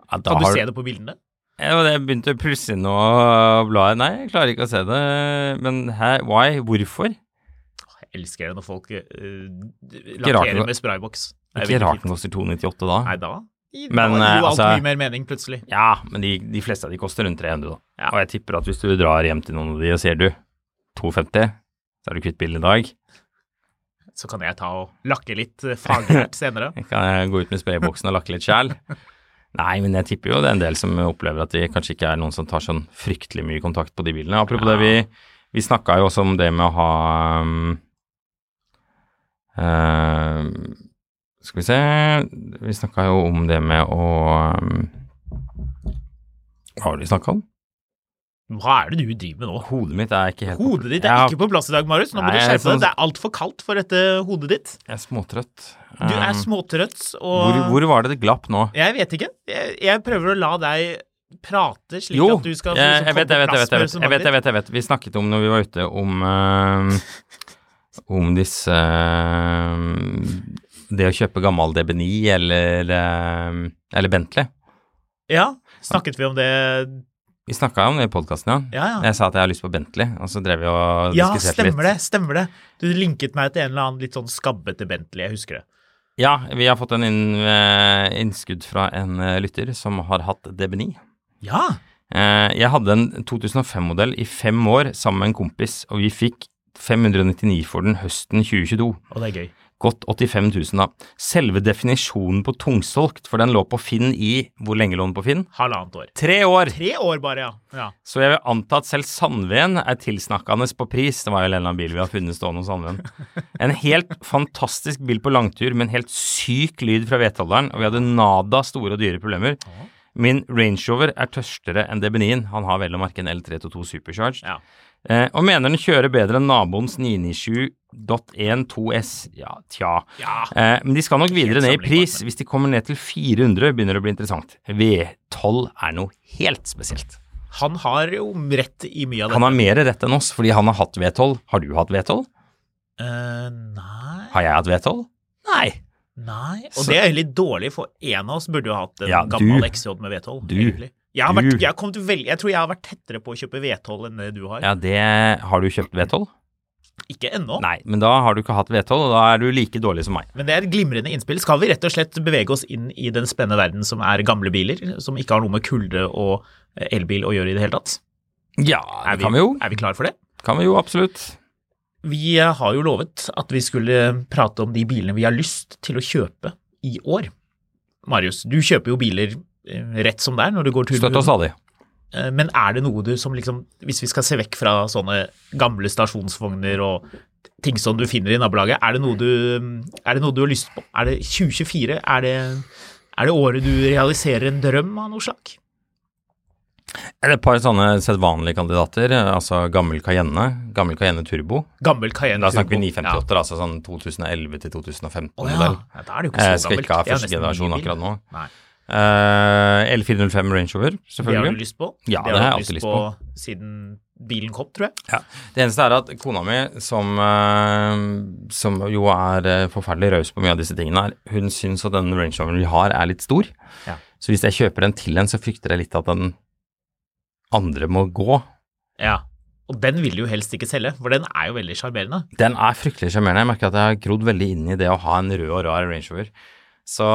Ja, da
Kan du
har-
se det på bildene?
Ja, og Jeg begynte plutselig nå å bla i- Nei, jeg klarer ikke å se det. Men hæ, why? Hvorfor?
Jeg elsker det når folk eh, d-
rart
lakkerer
det-
med sprayboks. Det er
Ikke
veldig
rart
fint.
den koster 298 da.
Nei, da i-
Men,
da gir
eh,
jo alt
altså-
mye mer mening, plutselig.
Ja, men de, de fleste av de koster rundt 300 da.
Ja.
Og jeg tipper at hvis du drar hjem til noen av de og sier du, 250, så er du kvitt bilen i dag.
Så kan jeg ta og lakke litt eh, faglært senere.
Jeg kan eh, gå ut med sprayboksen og lakke litt sjæl. Nei, men jeg tipper jo det er en del som opplever at det kanskje ikke er noen som tar sånn fryktelig mye kontakt på de bilene. Apropos det, vi, vi snakka jo også om det med å ha um, eh, Skal vi se Vi snakka jo om det med å um, Hva var det vi snakka om?
Hva er det du driver med nå?
Hodet mitt er ikke helt
Hodet ditt er
Jeg har-
ikke på plass i dag, Marius. Nå må
Nei,
du
jeg er
skjerpe
sånn-
deg. Det er altfor kaldt for dette hodet ditt.
Jeg er småtrøtt.
Du er
Um,
småtrøtt, og
hvor, hvor var det det glapp nå?
Jeg vet ikke. Jeg, jeg prøver å la deg prate slik
Jo,
at du skal
jeg,
liksom,
jeg, vet,
komme
jeg, vet,
på
jeg, vet, jeg,
plass
vet, jeg, vet, jeg vet, jeg vet. Vi snakket om når vi var ute, om eh, Om disse eh, Det å kjøpe gammel DB9 eller, eh, eller Bentley.
Ja, snakket vi om det
Vi snakka om det i podkasten, ja.
Ja, ja.
Jeg sa at jeg har lyst på Bentley, og så drev vi og
Ja,
diskuterte litt.
stemmer det. Stemmer det. Du linket meg til en eller annen litt sånn skabbete Bentley, jeg husker det.
Ja, vi har fått en inn, eh, innskudd fra en eh, lytter som har hatt DB9.
Ja,
Eh, Jeg hadde en 2005-modell i fem år sammen med en kompis, og vi fikk 599 for den høsten 2022.
Og det er gøy.
Godt 85 000, da. Selve definisjonen på tungsolgt, for den lå på Finn i Hvor lenge lå den på Finn?
Halvannet år.
Tre år!
Tre år bare, ja. ja.
Så jeg vil anta at selv Sandven er tilsnakkende på pris. Det var jo en eller annen bil vi har funnet stående hos Sandven. En helt fantastisk bil på langtur med en helt syk lyd fra vedholderen, og vi hadde nada store og dyre problemer. Min Range Rover er tørstere enn DB9-en. Han har vel å merke en L322 Supercharged.
Ja.
Eh, og mener den kjører bedre enn naboens 997.12S. Ja, tja.
Ja.
Eh, men de skal nok videre ned i
sammenlignbart,
pris. Hvis de kommer ned til 400, begynner det å bli interessant. V12 er noe helt spesielt.
Han har jo rett i mye av det.
Han har mer rett enn oss, fordi han har hatt V12. Har du hatt V12?
Eh, nei
Har jeg hatt V12? Nei.
Nei. Og
Så-
det er jo litt dårlig, for en av oss burde jo hatt en
Ja,
gammel
du.
XJ med V12.
Du.
egentlig. Jeg, har vært,
Du.
jeg, har kommet vel- jeg tror jeg har vært tettere på å kjøpe V12 enn det du har.
Ja, det Har du kjøpt V12?
Ikke ennå,
Nei, men da har du ikke hatt V12, og da er du like dårlig som meg.
men det er et glimrende innspill. Skal vi rett og slett bevege oss inn i den spennende verden som er gamle biler, som ikke har noe med kulde og eh, elbil å gjøre i det hele tatt?
Ja,
Er
det kan vi jo.
Er vi klar for det?
Kan vi jo, absolutt.
Vi eh, har jo lovet at vi skulle eh, prate om de bilene vi har lyst til å kjøpe i år. Marius, du kjøper jo biler eh, rett som det er når du går tur. med
Støtt oss
hunden.
stadig.
Eh, Men er det noe du som liksom, hvis vi skal se vekk fra sånne gamle stasjonsvogner og ting som du finner i nabolaget, er det noe du, er det noe du har lyst på? Er det 2024? Er det, er det året du realiserer en drøm av noe slag?
Er det et par sånne sedvanlige kandidater, altså gammel Cayenne, gammel Cayenne Turbo.
Gammel Cayenne
Da snakker vi
Turbo.
958, altså sånn 2011 til 2015
Å ja.
modell.
Ja, da er det jo ikke så
Jeg
gammelt.
skal ikke ha
Det er jo
første
nesten
generasjon
ny bil.
akkurat nå.
Nei.
Eh, L405 Range Rover,
Det har du
selvfølgelig.
lyst på?
Ja, det
du
har jeg
hatt
alltid lyst
på siden bilen kom, tror jeg.
Ja. Det eneste er at kona mi, som, eh, som jo er eh, forferdelig raus på mye av disse tingene, her, hun syns at den Range Roveren vi har er litt stor.
Ja.
Så hvis jeg kjøper en til en, så frykter jeg litt at den andre må gå.
Ja. Og den vil du jo helst ikke selge, for den er jo veldig sjarmerende.
Den er fryktelig sjarmerende. Jeg merker at jeg har grodd veldig inn i det å ha en rød og rar Range Rover. Så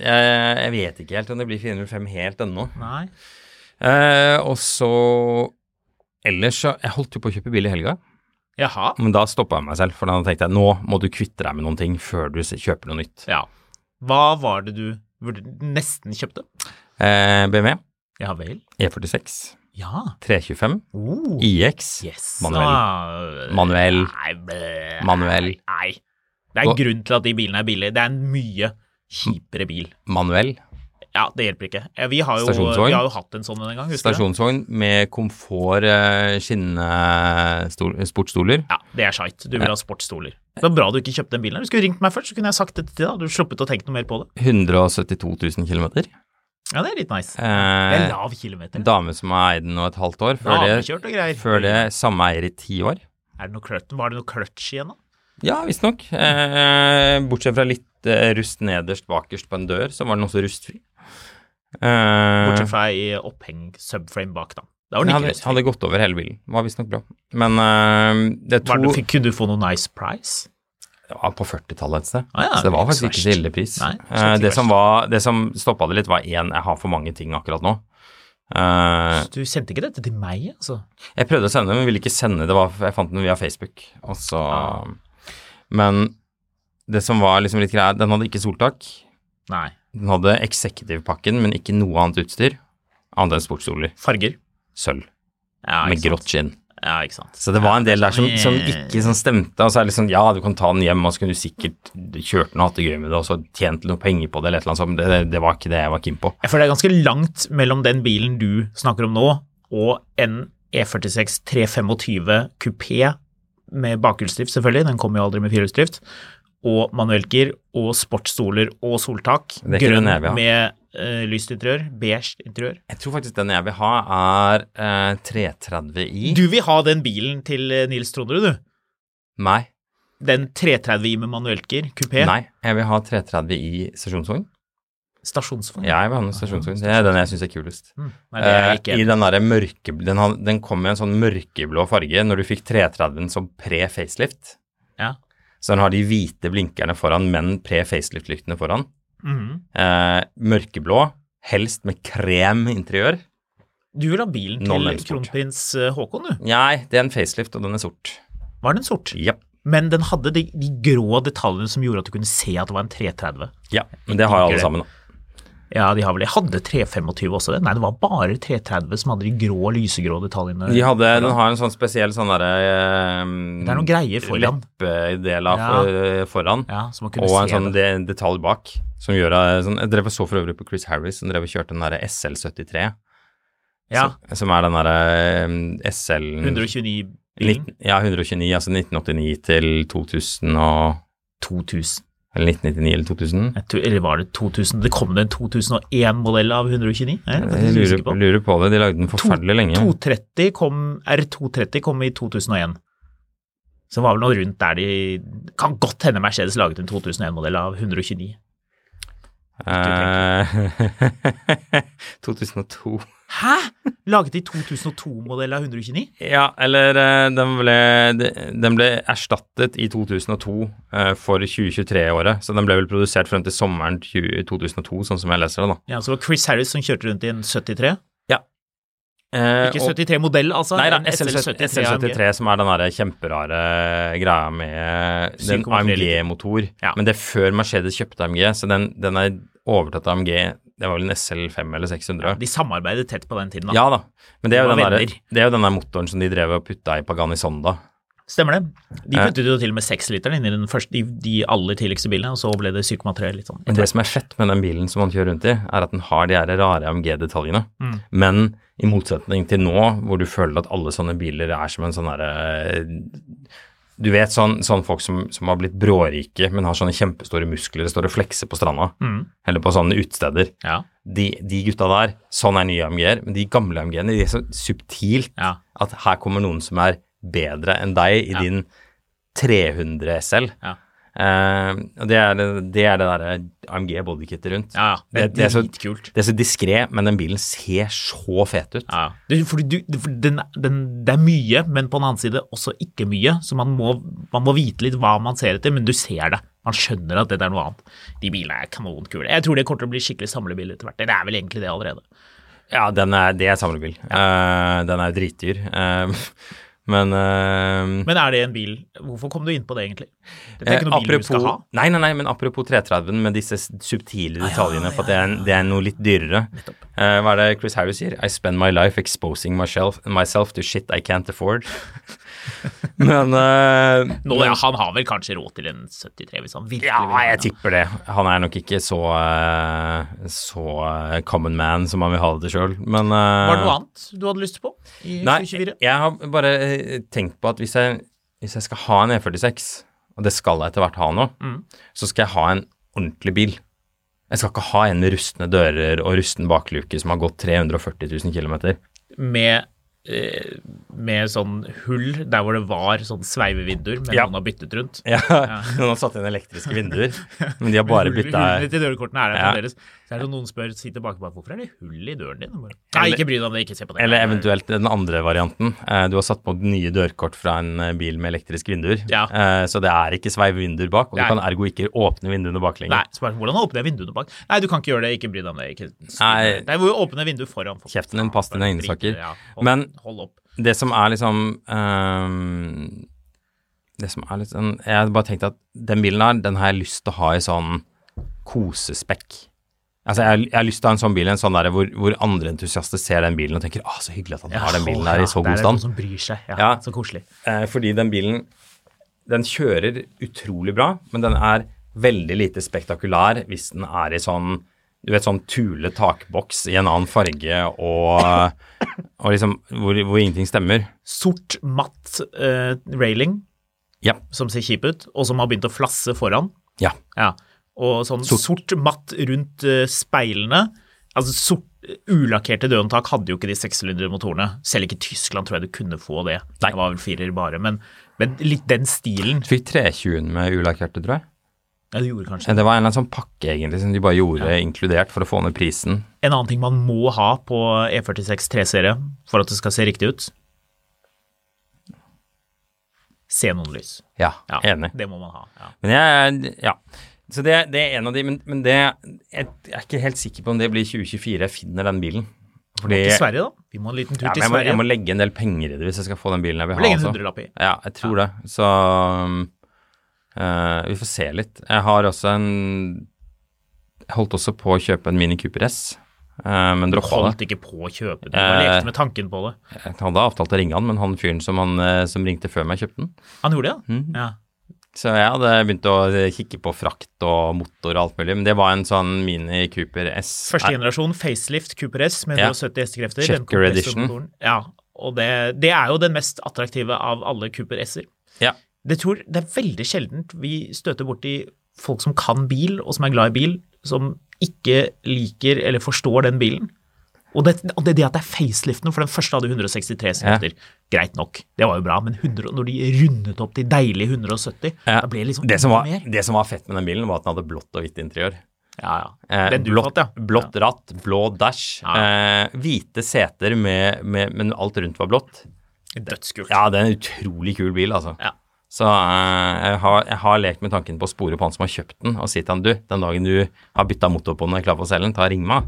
jeg, jeg vet ikke helt om det blir 405 helt ennå.
Nei.
Eh, og så Ellers så Jeg holdt jo på å kjøpe bil i helga.
Jaha.
Men da stoppa jeg meg selv, for da tenkte jeg nå må du kvitte deg med noen ting før du se- kjøper noe nytt.
Ja. Hva var det du vurd- nesten kjøpte?
Eh, BMW,
Ja vel.
E46,
Ja.
325,
Oh.
IX,
Yes.
manuell.
Ah,
Manuell.
Nei, bæ-
Manuell.
Nei. Det er en
Hva?
grunn til at de bilene er billige. Det er en mye kjipere bil.
Manuell.
Ja, det hjelper ikke. Ja, Vi har jo,
Stasjonsvogn.
vi har jo hatt en sånn en gang, husker du? det?
Stasjonsvogn med komfort, eh, skinnsportsstoler.
Ja, det er shite. Du vil ha sportsstoler. Det var bra du ikke kjøpte den bilen. her. Du skulle ringt meg først, så kunne jeg sagt det til deg. da. Du sluppet å tenke noe mer på det.
172 000 km.
Ja, det er litt nice. det er
Eh,
lav kilometer.
dame som har eid den nå et halvt år. Før det,
Damekjørt og greier.
før det samme eier i ti år.
Er det noe kløtt? Var det noe kløtsj igjen, da?
Ja, visstnok. Eh, bortsett fra litt eh, rust nederst bakerst på en dør, så var den også rustfri. Eh,
Bortsett fra i oppheng subframe bak, da. Da var
den
den ikke
hadde,
røstfri.
hadde gått over hele bilen. Var visstnok bra. Men eh, det er
Var
to
det- fikk- Kunne du få noe nice price?
det var på 40-tallet et sted.
Ah, ja,
så det var
ikke så
faktisk ikke så
verst.
ille pris.
Nei,
Eh,
så ikke
det,
verst.
som var, det som stoppa det litt, var én jeg har for mange ting akkurat nå. Eh,
Du sendte ikke dette til meg, altså?
Jeg prøvde å sende den, men ville ikke sende. Det var, jeg fant den via Facebook. Og så,
Ah.
Men det som var liksom litt greia, den hadde ikke soltak.
Nei.
Den hadde executive-pakken, men ikke noe annet utstyr. Annet enn sportsstoler.
Farger?
Sølv.
Ja,
med
ikke sant.
grått skinn.
Ja, ikke sant.
Så det var en del der som, som ikke sånn stemte. Og så er det liksom, ja, du kan ta den hjem, og så kunne du sikkert kjørt den og hatt det gøy med det, og så tjent noe penger på det, eller et eller annet sånt. men Det, det var ikke det jeg var keen på.
Jeg føler det er ganske langt mellom den bilen du snakker om nå, og en E46 325 kupé med bakhjulsdrift, selvfølgelig. Den kommer jo aldri med firehjulsdrift. Og manuelt gir, og sportsstoler og soltak.
Det er ikke
Grønn
den jeg vil ha.
med eh, lyst interiør. Beige interiør.
Jeg tror faktisk den jeg vil ha, er eh, 330i.
Du vil ha den bilen til eh, Nils Tronderud, du.
Nei.
Den 330i med manuelt gir, kupé.
Nei, jeg vil ha 330 i stasjonsvogn.
Stasjonsvogn.
Ja, jeg vil ha en stasjonsvogn. Det er den jeg syns er kulest.
Mm. Nei, det er jeg ikke.
Eh, I den derre mørke... Den, har- den kom i en sånn mørkeblå farge når du fikk 330-en som pre-facelift.
Ja.
Så den har de hvite blinkerne foran, men pre-facelift-lyktene foran.
Mhm.
Eh, mørkeblå, helst med krem interiør.
Du vil ha bilen til
Non-lens sport.
kronprins eh, Haakon, du.
Nei, det er en facelift, og den er sort.
Var den sort?
Japp.
Men den hadde de, de grå detaljene som gjorde at du kunne se at det var en 330.
Ja, men det har
Digger
alle
det.
sammen. da.
Ja, de har vel Hadde 325 også det? Nei, det var bare 330 som hadde de grå, lysegrå detaljene.
De hadde, den har en sånn spesiell sånn derre
Det er noen greier foran.
Leppedel av
Ja.
for- eh, foran.
Ja, så man kunne
og en
se
sånn
det.
de, detalj bak. Som gjør eh, sånn, Jeg drev og så for øvrig på Chris Harris, som drev og kjørte den derre SL73.
Ja,
Som, som er den derre eh, SL
129 bilen.
19, Ja, 129. Altså 1989 til 2000 og
2000.
Eller 1999 eller 2000.
Jeg tror- Eller var det 2000? Det kom det en 2001-modell av 129? Jeg, er
Jeg
faktisk
lurer,
usikker på.
lurer på det. De lagde den forferdelig lenge.
230 kom, R230 kom i 2001. Så det var vel noe rundt der de Kan godt hende Mercedes laget en 2001-modell av 129.
Eh, 2002.
Hæ?! Laget de 2002-modell av 129?
Ja, eller eh, den ble, de- den ble erstattet i 2002 eh, for 2023-året. Så den ble vel produsert frem til sommeren 20, 2002, sånn som jeg leser det, da.
Ja, så det var Chris Harris som kjørte rundt i en 73.
Eh,
Ikke
og-
73-modell, altså.
Nei, da,
en
SL73
AMG.
SL som er den derre kjemperare greia med
7,3
den
liter.
AMG-motor.
Ja.
Men det er før Mercedes kjøpte AMG, så den, den er overtatt av AMG. Det var vel en SL5 eller 600.
De samarbeidet tett på den tiden, da.
Ja da, men det er, jo
De
den
var
der,
venner.
det er jo den der motoren som de drev og putta i Pagani Sonda.
Stemmer det. De
Eh.
puttet jo til og med 6-literen inn i den første, de, de aller tidligste bilene, og så ble det 7,3 litt sånn.
Men det som er fett med den bilen som man kjører rundt i, er at den har de her rare AMG-detaljene. Men i motsetning til nå, hvor du føler at alle sånne biler er som en sånn derre Du vet sånn, sånn folk som, som har blitt brårike, men har sånne kjempestore muskler, står og flekser på stranda, eller på sånne utesteder.
Ja.
De, de gutta der, sånn er nye AMG-er, men de gamle AMG-ene, de er så subtilt
Ja.
at her kommer noen som er bedre enn deg i din 300 SL.
Ja.
Eh, og det er det, det, er det derre AMG bodykittet rundt.
Ja, ja. Det er
så,
dritkult.
det er så diskré, men den bilen ser så fet ut.
Ja. Det, fordi du, det- fordi den, den, det er mye, men på den annen side også ikke mye. Så man må, man må vite litt hva man ser etter, men du ser det. Man skjønner at dette er noe annet. De bilene er kanonkule. Jeg tror det kommer til å bli skikkelig samlebil etter hvert. Det er vel egentlig det allerede.
Ja, den er, det er samlebil. Eh, den er jo dritdyr. Eh, men eh,
Men er det en bil Hvorfor kom du inn på det, egentlig? Dette er ikke noen bil du skal ha.
Nei, nei, nei, men apropos 330-en med disse s- subtile detaljene, for at det er, en- det er noe litt dyrere. Eh, hva er det Chris Harris sier? I spend my life exposing myself, myself to shit I can't afford. men eh,
Nå, ja, han har vel kanskje råd til en 73 hvis han virkelig
Ja,
vil. ha
jeg
den.
tipper det. Han er nok ikke så, eh, så eh, common man som han vil ha det til sjøl, men eh,
Var det noe annet du hadde lyst på i
Nei,
2024?
jeg har bare eh, tenkt på at hvis jeg, hvis jeg skal ha en E46, og det skal jeg etter hvert ha nå,
Mm.
så skal jeg ha en ordentlig bil. Jeg skal ikke ha en med rustne dører og rusten bakluke som har gått 340 000 km.
Med, eh, med sånn hull der hvor det var sånn sveivevinduer, men
Ja.
noen har byttet rundt.
Ja, noen har satt inn elektriske vinduer, men de har bare
Hull-
bytta
Hullene til dørkortene er der
Ja.
fremdeles. Så er det sånn noen spør, sitter bak bak, hvorfor er det hull i døren din? Og Bare, Nei, ikke bry deg om det, ikke se på det.
Eller eventuelt den andre varianten. Eh, Du har satt på nye dørkort fra en eh, bil med elektriske vinduer,
Ja.
Eh, så det er ikke sveivevinduer bak, og
Nei.
du kan ergo ikke åpne vinduene bak lenger.
Nei, så bare, hvordan åpner jeg vinduene bak? Nei, du kan ikke gjøre det, ikke bry deg om det. Ikke,
Nei.
Nei, hvor åpner vinduet foran? for-
Kjeften din, pass dine
Bare
egne
drit i
saker.
det, Ja, hold,
Men-
hold opp.
det som er liksom ehm, Det som er litt sånn Jeg hadde bare tenkt at den bilen her, den har jeg lyst til å ha i sånn kosespekk. Altså, jeg, jeg har lyst til å ha en sånn bil en sånn der, hvor, hvor andre entusiaster ser den bilen og tenker 'Å, så hyggelig at han har den bilen
Ja,
her i så
der
god
er det noen
stand'.
som bryr seg. Ja,
Ja.
Så koselig.
Eh, fordi den bilen den kjører utrolig bra, men den er veldig lite spektakulær hvis den er i sånn du vet, sånn tule takboks i en annen farge og, og liksom hvor, hvor ingenting stemmer.
Sort, matt eh, railing
Ja.
som ser kjip ut, og som har begynt å flasse foran.
ja.
Ja. Og sånn sort, matt rundt eh, speilene. Altså sort, Ulakkerte dørhåndtak hadde jo ikke de sekssylindere-motorene. Selv ikke i Tyskland tror jeg du kunne få det. Det var vel firer bare, men, men litt den stilen.
Du fikk 320 med ulakkerte, tror jeg.
Ja, det gjorde
Ja,
kanskje.
Det var en eller annen sånn pakke egentlig som de bare gjorde inkludert for å få ned prisen.
En annen ting man må ha på E46 3-serie for at det skal se riktig ut Se noen lys.
Ja,
Ja,
enig.
Det må man ha. Ja.
Men jeg, ja. Så det, det er en av de, men, men det Jeg er ikke helt sikker på om det blir 2024 jeg finner den bilen.
Må
Fordi
til
ja,
Sverige, da. Vi må en liten tur
men
til
jeg, må, jeg
Sverige.
må legge en del penger i det hvis jeg skal få den bilen jeg
Må
vil ha.
legge en
altså.
hundrelapp i.
Ja, jeg tror det. Så um, eh, vi får se litt. Jeg har også en Jeg holdt også på å kjøpe en Mini Cooper S, eh, men
Du
droppa det.
holdt ikke på å kjøpe den, du bare
Eh.
lekte med tanken på det.
Jeg hadde avtalt å ringe han, men han fyren som, han, eh, som ringte før meg, kjøpte den.
Han gjorde det,
Mhm.
ja.
Så jeg hadde begynt å eh, kikke på frakt og motor og alt mulig, men det var en sånn Mini Cooper S. Eh,
Første generasjon facelift Cooper S med
Ja.
170 hestekrefter.
Checker
den kompressormotoren.
edition.
Ja, og det, det er jo den mest attraktive av alle Cooper S-er.
Ja.
Det, tror, det er veldig sjeldent vi støter borti folk som kan bil, og som er glad i bil, som ikke liker eller forstår den bilen. Og det, og det er det at det er faceliften, for den første hadde 163 hestekrefter. Greit nok, det var jo bra, men 100, når de rundet opp til deilige 170,
Ja.
da ble det liksom
Eh, det, som var,
mer.
det som var fett med den bilen, var at den hadde blått og hvitt interiør.
Ja, ja.
Eh,
Den du
blått,
fant, ja.
blått ratt, blå dash,
Ja.
eh, hvite seter, med, med, men alt rundt var blått.
ja. Dødskult.
Ja, det er en utrolig kul bil, altså.
Ja.
Så eh, jeg, har, jeg har lekt med tanken på å spore på han som har kjøpt den, og si til han du, den dagen du har bytta motor på den og er klar for å selge den, ta og ring meg.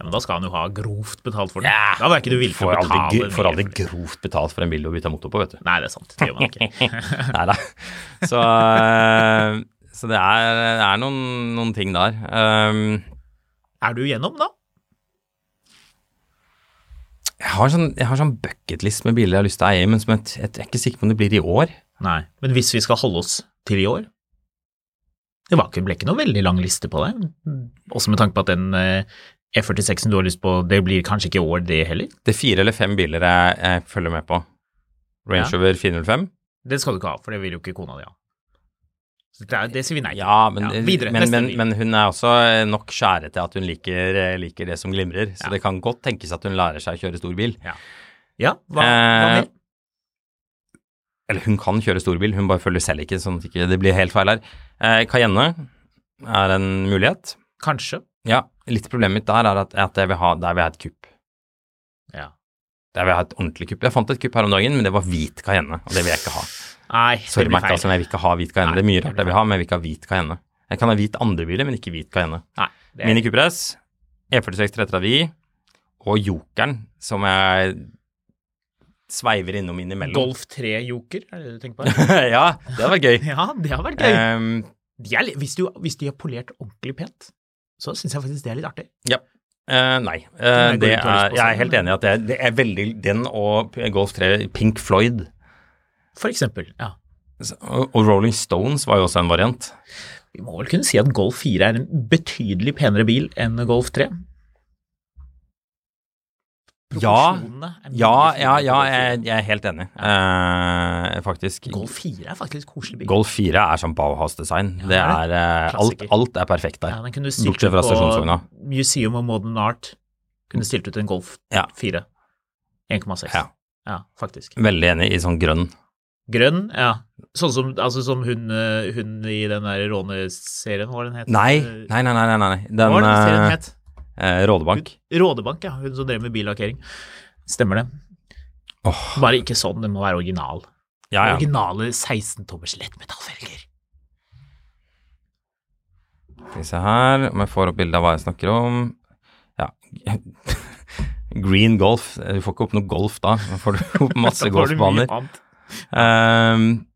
Ja, men da skal han jo ha grovt betalt for det. da var ikke du villig til å
Får
betale
aldri,
mer
gro- får aldri
for det.
grovt betalt for en bil du har bytta motor på, vet du.
Nei, det er sant. Det gjør man ikke.
Nei da. Så, eh, så det er, det er noen, noen ting der. Um,
Er du gjennom, da?
jeg har sånn, jeg har sånn bucketlist med biler jeg har lyst til å eie, men som jeg, t- jeg er ikke sikker på om det blir i år.
Nei. Men hvis vi skal holde oss til i år Det var ikke, ble ikke noe veldig lang liste på det. Også med tanke på at den eh, E46-en du har lyst på, det blir kanskje ikke i år, det heller.
Det er fire eller fem biler jeg, jeg følger med på. Range
Ja.
Rover 405.
Det skal du ikke ha, for det vil jo ikke kona di ha. Så Det, er- det sier vi nei til.
Ja, men,
videre.
men,
Neste
men,
bil.
men hun er også nok skjære til at hun liker, liker det som glimrer. Så
Ja.
det kan godt tenkes at hun lærer seg å kjøre stor bil.
ja, hva, hva
Eh,
mer?
Eller hun kan kjøre stor bil, hun bare følger selv ikke, sånn at ikke det blir helt feil her. Eh, Cayenne er en mulighet.
Kanskje.
Ja, litt problemet mitt der er at, at jeg vil ha, der vil jeg ha et kupp.
Ja.
Der vil jeg ha et ordentlig kupp. Jeg fant et kupp her om dagen, men det var hvit Cayenne, og det vil jeg ikke ha.
Nei,
Sorry,
det blir
Mac,
feil.
altså, men jeg vil ikke ha hvit Cayenne.
Nei,
Det er mye
det
rart
blir
jeg vil ha, men jeg vil ikke ha hvit Cayenne. Jeg kan ha hvit andre biler, men ikke hvit Cayenne.
Nei, det er-
Mini Cooper S, E46 330i og Jokeren, som jeg sveiver innom innimellom.
Golf 3 Joker, er det det du tenker på?
ja, det hadde vært gøy.
ja, det har vært gøy.
Ehm,
De er, litt- hvis, du, hvis de har polert ordentlig pent, så syns jeg faktisk det er litt artig.
eh, nei,
Den
eh, det
jeg går ut og har lyst
er,
på
jeg er
selv,
helt enig i at det er, det er veldig Den og Golf 3, Pink Floyd
For eksempel. Ja.
og og Rolling Stones var jo også en variant.
Vi må vel kunne si at Golf 4 er en betydelig penere bil enn Golf 3.
Ja,
Proporsjonene er mye
Ja,
finere på Golf 4.
ja, ja jeg, jeg er helt enig, eh, faktisk.
Golf 4 er faktisk koselig bil.
Golf 4 er sånn Bauhaus-design. det
det er
er, eh, alt,
Klassiker.
alt er perfekt der.
ja, den kunne stilt
Bortsett
ut
fra
på
stasjonsvogna. Mm.
Museum of Modern Art. Kunne stilt ut en Golf
Ja.
4. 1,6.
Ja.
ja, faktisk.
Veldig enig i sånn grønn.
Grønn, ja. Sånn som, altså, som hun, eh, hun i den der råneserien, hva var den het?
Nei,
Eh,
nei, nei. nei, nei, nei.
Hva
Den
var den serien
eh,
het?
eh, Rådebank.
Rådebank, ja. Hun som drev med billakkering. Stemmer det.
Åh.
Bare ikke sånn, den må være original.
Ja, ja.
Originale 16-tommers lettmetallfelger.
Skal vi se her om jeg får opp bilde av hva jeg snakker om. Ja. Green golf. Du får ikke opp noe golf da. Da får du opp masse
Da får du mye
golfbaner.
annet.
Ehm,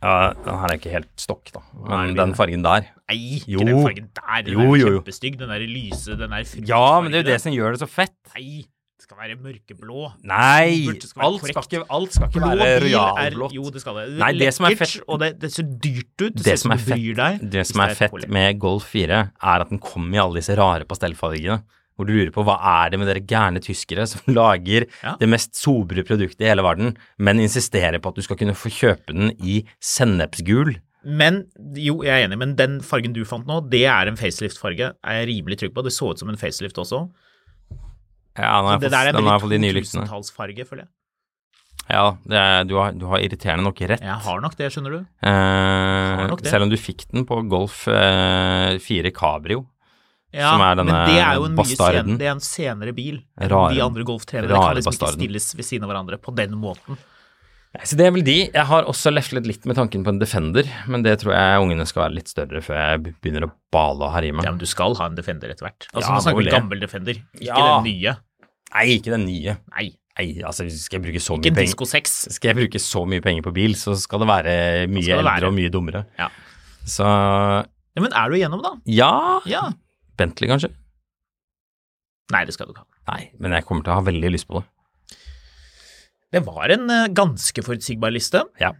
ja, den her er ikke helt stokk, da.
Nei,
Men
det blir
den
det.
fargen der.
Nei, ikke
Jo.
den fargen der. Den
Jo,
er
jo, jo.
kjempestygg. Den der lyse, den der fruktfargen.
Ja, men det er jo det som gjør det så fett.
Nei, det skal være mørkeblå.
Nei!
Burde skal være
Alt skal
korrekt.
ikke, alt skal ikke
Blå
være
bil er
royalblått.
Jo, det skal det.
Nei, det som er
Lekkert,
fett-
Og det, det ser dyrt ut. Det,
Det
ser ut
som er
du bryr deg.
fett, det
hvis
som er
et
fett
pålegg.
med Golf 4, er at den kommer i alle disse rare pastellfargene. Hvor du lurer på hva er det med dere gærne tyskere som lager
Ja.
det mest sobre produktet i hele verden, men insisterer på at du skal kunne få kjøpe den i sennepsgul.
Men jo, jeg er enig, men den fargen du fant nå, det er en facelift-farge. Er jeg rimelig trygg på. Det så ut som en facelift også.
Ja, nå har
det
jeg
der
fått,
er
den har jeg fått de nye
veldig
lyktene.
2000-tallsfarge, føler jeg.
Ja, det er, du, har, du har irriterende nok rett.
Jeg har nok det, skjønner du.
Eh,
nok det.
selv om du fikk den på Golf eh, 4 Cabrio.
Ja,
Som er denne
men det er jo en mye
bastarden.
sen, det er en senere bil. enn
Rare-
de andre golftrenerne
rare
kan liksom ikke
bastarden.
stilles ved siden av hverandre på den måten.
Nei, Så det er vel de. Jeg har også leflet litt med tanken på en Defender, men det tror jeg ungene skal være litt større før jeg be- begynner å bale og herje
Ja,
med.
men du skal ha en Defender etter hvert. Altså,
Ja,
Nå snakker
må
vi
det.
gammel Defender, ikke
Ja.
den nye.
Nei, ikke den nye.
Nei,
Nei, altså skal jeg bruke så
ikke
mye penger
Disko 6.
Skal jeg bruke så mye penger på bil, så skal det være mye
skal det
eldre
være.
og mye dummere.
Ja.
Så
Ja, men er du igjennom, da?
ja,
Ja.
Bentley kanskje?
Nei, det skal du ikke ha.
Nei, men jeg kommer til å ha veldig lyst på det.
Det var en eh, ganske forutsigbar liste.
Ja.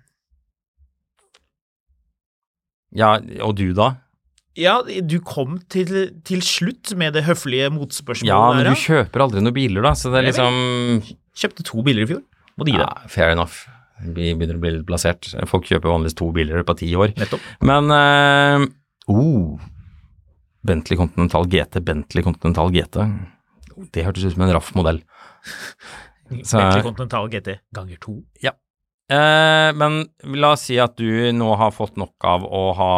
Ja, og du da?
Ja, du kom til, til slutt med det høflige motspørsmålet
Ja, men
der,
du kjøper aldri noen biler da, så det er
Nei
liksom
Kjøpte to biler i fjor. Må du gi
ja,
deg.
Fair enough. Vi begynner å bli litt plassert. Folk kjøper vanligvis to biler i løpet av ti år.
Nettopp.
Men eh, oh, Bentley Continental GT, Bentley Continental GT. Det hørtes ut som en raff modell. Så-
Bentley Continental GT ganger to.
Eh, men la oss si at du nå har fått nok av å ha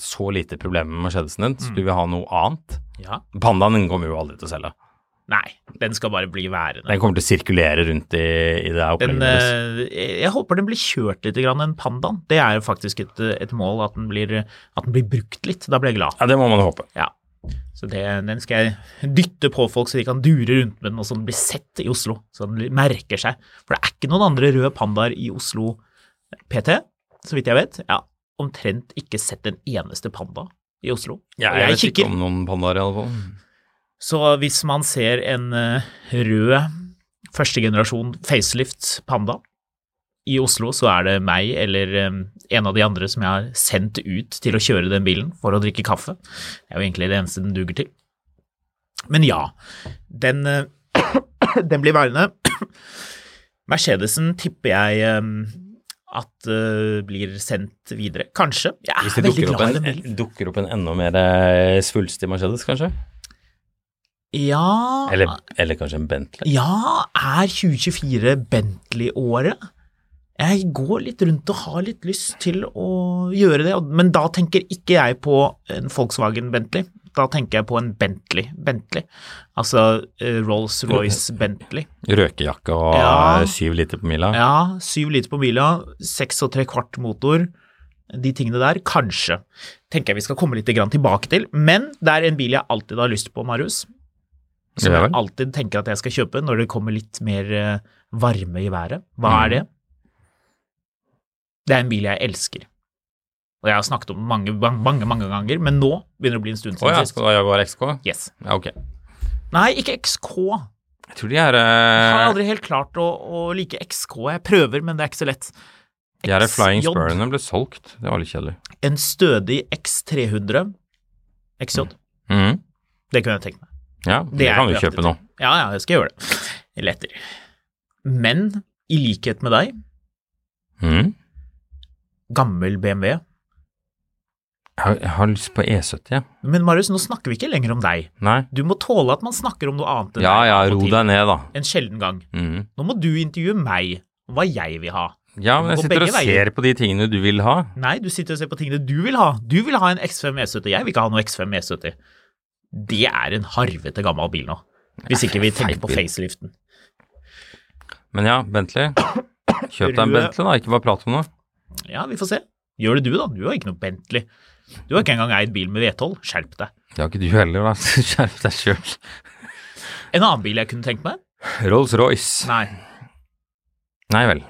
så lite problemer med Mercedesen din,
Mm.
så du vil ha noe annet.
Ja.
Pandaen din kommer jo aldri til å selge.
Nei, den skal bare bli værende.
Den kommer til å sirkulere rundt i, i det
Den,
opplegget. deres.
eh, jeg håper den blir kjørt litt, grann, den pandaen. Det er jo faktisk et, eh, et mål at den, blir, at den blir brukt litt. Da blir jeg glad.
ja, det må man håpe.
Ja. Så det, den skal jeg dytte på folk, så de kan dure rundt med den, og så den blir sett i Oslo. Så den blir- merker seg. For det er ikke noen andre røde pandaer i Oslo PT, så vidt jeg vet. Jeg har omtrent ikke sett en eneste panda i Oslo.
Ja,
Og
jeg, vet ikke om noen pandaer, i alle fall.
Så hvis man ser en eh, rød førstegenerasjon facelift Panda i Oslo, så er det meg eller eh, en av de andre som jeg har sendt ut til å kjøre den bilen for å drikke kaffe. Det er jo egentlig det eneste den duger til. Men ja, den, eh, den blir værende. Mercedesen tipper jeg eh, at eh, blir sendt videre. Kanskje. Jeg
Hvis
er
det
veldig
dukker opp,
glad i den bilen.
en, dukker opp en enda mer eh, svulstig Mercedes, kanskje?
Ja
Eller, eller kanskje en Bentley?
Ja, er 2024 Bentley-året? Jeg går litt rundt og har litt lyst til å gjøre det, og- men da tenker ikke jeg på en Volkswagen Bentley. Da tenker jeg på en Bentley. Bentley. Altså eh, Rolls-Royce Bentley.
Røkejakke og
Ja.
eh, syv liter på mila.
Ja, syv liter på mila, seks og tre kvart motor. De tingene der, kanskje, tenker jeg vi skal komme litt grann tilbake til. Men det er en bil jeg alltid har lyst på, Marius. Som
Ja
jeg
vel.
alltid tenker at jeg skal kjøpe når det kommer litt mer eh, varme i været. Hva er
Mm.
det? Det er en bil jeg elsker. Og jeg har snakket om den mange, mange, mange, mange ganger, men nå begynner det å bli en stund
Å
siden
ja,
sist.
skal du ha Jaguar XK?
Yes.
Ja, ok.
Nei, ikke XK.
Jeg tror de er
Jeg har
eh,
aldri helt klart å, å like XK. Jeg prøver, men det er ikke så lett.
De her Flying
XJ.
Spurene ble solgt. Det var litt kjedelig.
En stødig X300 XJ.
Mhm.
Det kunne jeg tenkt meg.
Ja, det,
er
kan du
kraftig.
kjøpe nå.
Ja, ja, jeg skal gjøre det. Letter. Men i likhet med deg,
Mhm.
gammel BMW
Jeg, har, jeg har lyst på E70, jeg. Ja.
Men Marius, nå snakker vi ikke lenger om deg.
Nei.
Du må tåle at man snakker om noe annet enn
Ja
deg.
ja,
av og
ro
til.
deg ned, da.
En sjelden gang.
Mhm.
Nå må du intervjue meg om hva jeg vil ha.
Ja, men jeg
Gå
sitter og
begge veier.
ser på de tingene du vil ha.
Nei, du sitter og ser på tingene du vil ha. Du vil ha en X5 E70. Jeg vil ikke ha noe X5 E70. Det er en harvete gammel bil nå. Hvis ikke vi tenker på
bil.
faceliften.
Men ja, Bentley. Kjøp deg en
Rød.
Bentley, da. Ikke bare prat om noe.
Ja, vi får se. Gjør det du, da. Du har ikke noe Bentley. Du har ikke engang eid bil med V12. Skjerp deg.
Det har ikke du heller, da. så Skjerp deg sjøl.
En annen bil jeg kunne tenkt meg?
Rolls-Royce.
Nei.
Nei vel.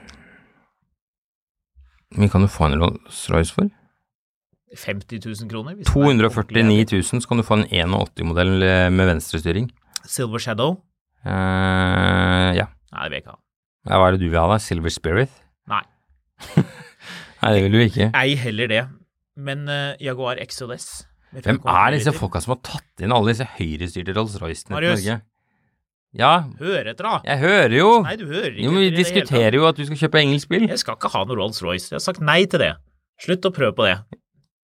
Hvor mye kan du få en Rolls-Royce for?
50 000 kroner? hvis den er ordentlig
249
jævlig.
000, så kan du få en 81-modell eh, med venstrestyring.
Silver Shadow?
eh ja.
Nei, det vil jeg ikke ha.
Ja, Hva er det du vil ha, da? Silver Spirit?
Nei.
Nei, det vil du ikke.
Ei heller det. Men eh, Jaguar XJS med
Hvem
5,8
er disse
liter.
folka som har tatt inn alle disse høyrestyrte Rolls-Roycene til
Marius.
Norge? Ja,
Hør etter, da!
jeg hører jo!
Nei, du hører ikke.
Jo, men
etter
Vi
i det hele
diskuterer jo at du skal kjøpe engelsk
tatt.
bil.
Jeg skal ikke ha noe Rolls-Royce. Jeg har sagt nei til det. Slutt å prøve på det.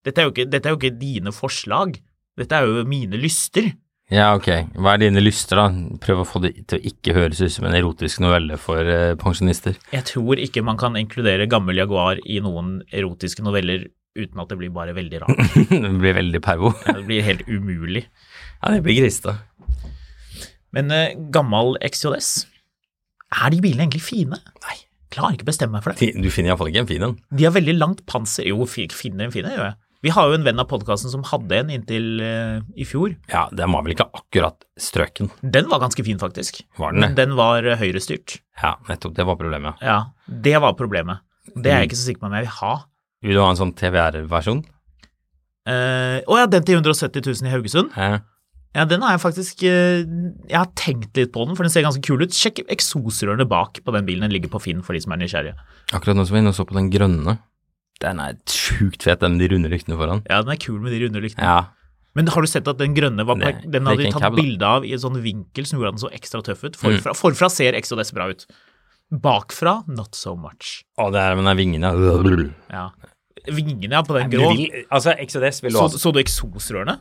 Dette er, jo ikke, dette er jo ikke dine forslag. Dette er jo mine lyster.
Ja, ok. Hva er dine lyster, da? Prøv å få det til å ikke høres ut som en erotisk novelle for eh, pensjonister.
Jeg tror ikke man kan inkludere gammel Jaguar i noen erotiske noveller uten at det blir bare veldig rart.
det blir veldig pervo.
Det blir helt umulig.
Ja, det blir grista.
Men eh, gammel XJS, er de bilene egentlig fine? Nei. Klarer ikke bestemme meg for det.
Du finner iallfall ikke en fin en.
De har veldig langt panser. Jo, fi- finne en fine, gjør jeg. Vi har jo en venn av podkasten som hadde en inntil eh, i fjor.
Ja, den var vel ikke akkurat strøken.
Den var ganske fin, faktisk.
Var den det?
Men Den var eh, høyrestyrt.
Ja, nettopp. Det var problemet.
Ja, det var problemet. Det er jeg ikke så sikker på om jeg vil ha.
Vil du ha en sånn TVR-versjon?
Eh, Å ja, den til 170 000 i Haugesund?
Eh,
Ja, den har jeg faktisk eh, Jeg har tenkt litt på den, for den ser ganske kul ut. Sjekk eksosrørene bak på den bilen. Den ligger på Finn for de som er nysgjerrige.
akkurat nå som vi var inne og så på den grønne. Den er sjukt fet, den med de runde lyktene foran.
Ja, den er kul med de runde lyktene.
Ja,
Men har du sett at den grønne var
Nei,
park- den
det er
hadde
ikke
de
en
tatt
cab, da.
bilde av i en sånn vinkel som gjorde at den så ekstra tøff ut?
Mm.
Forfra, forfra ser ekstra desperat ut. Bakfra not so much.
Å, det er med den vingene.
Ja. Vingene ja, på den
Du
grå.
vil, altså, XODS vil du
Så,
ha.
så du eksosrørene?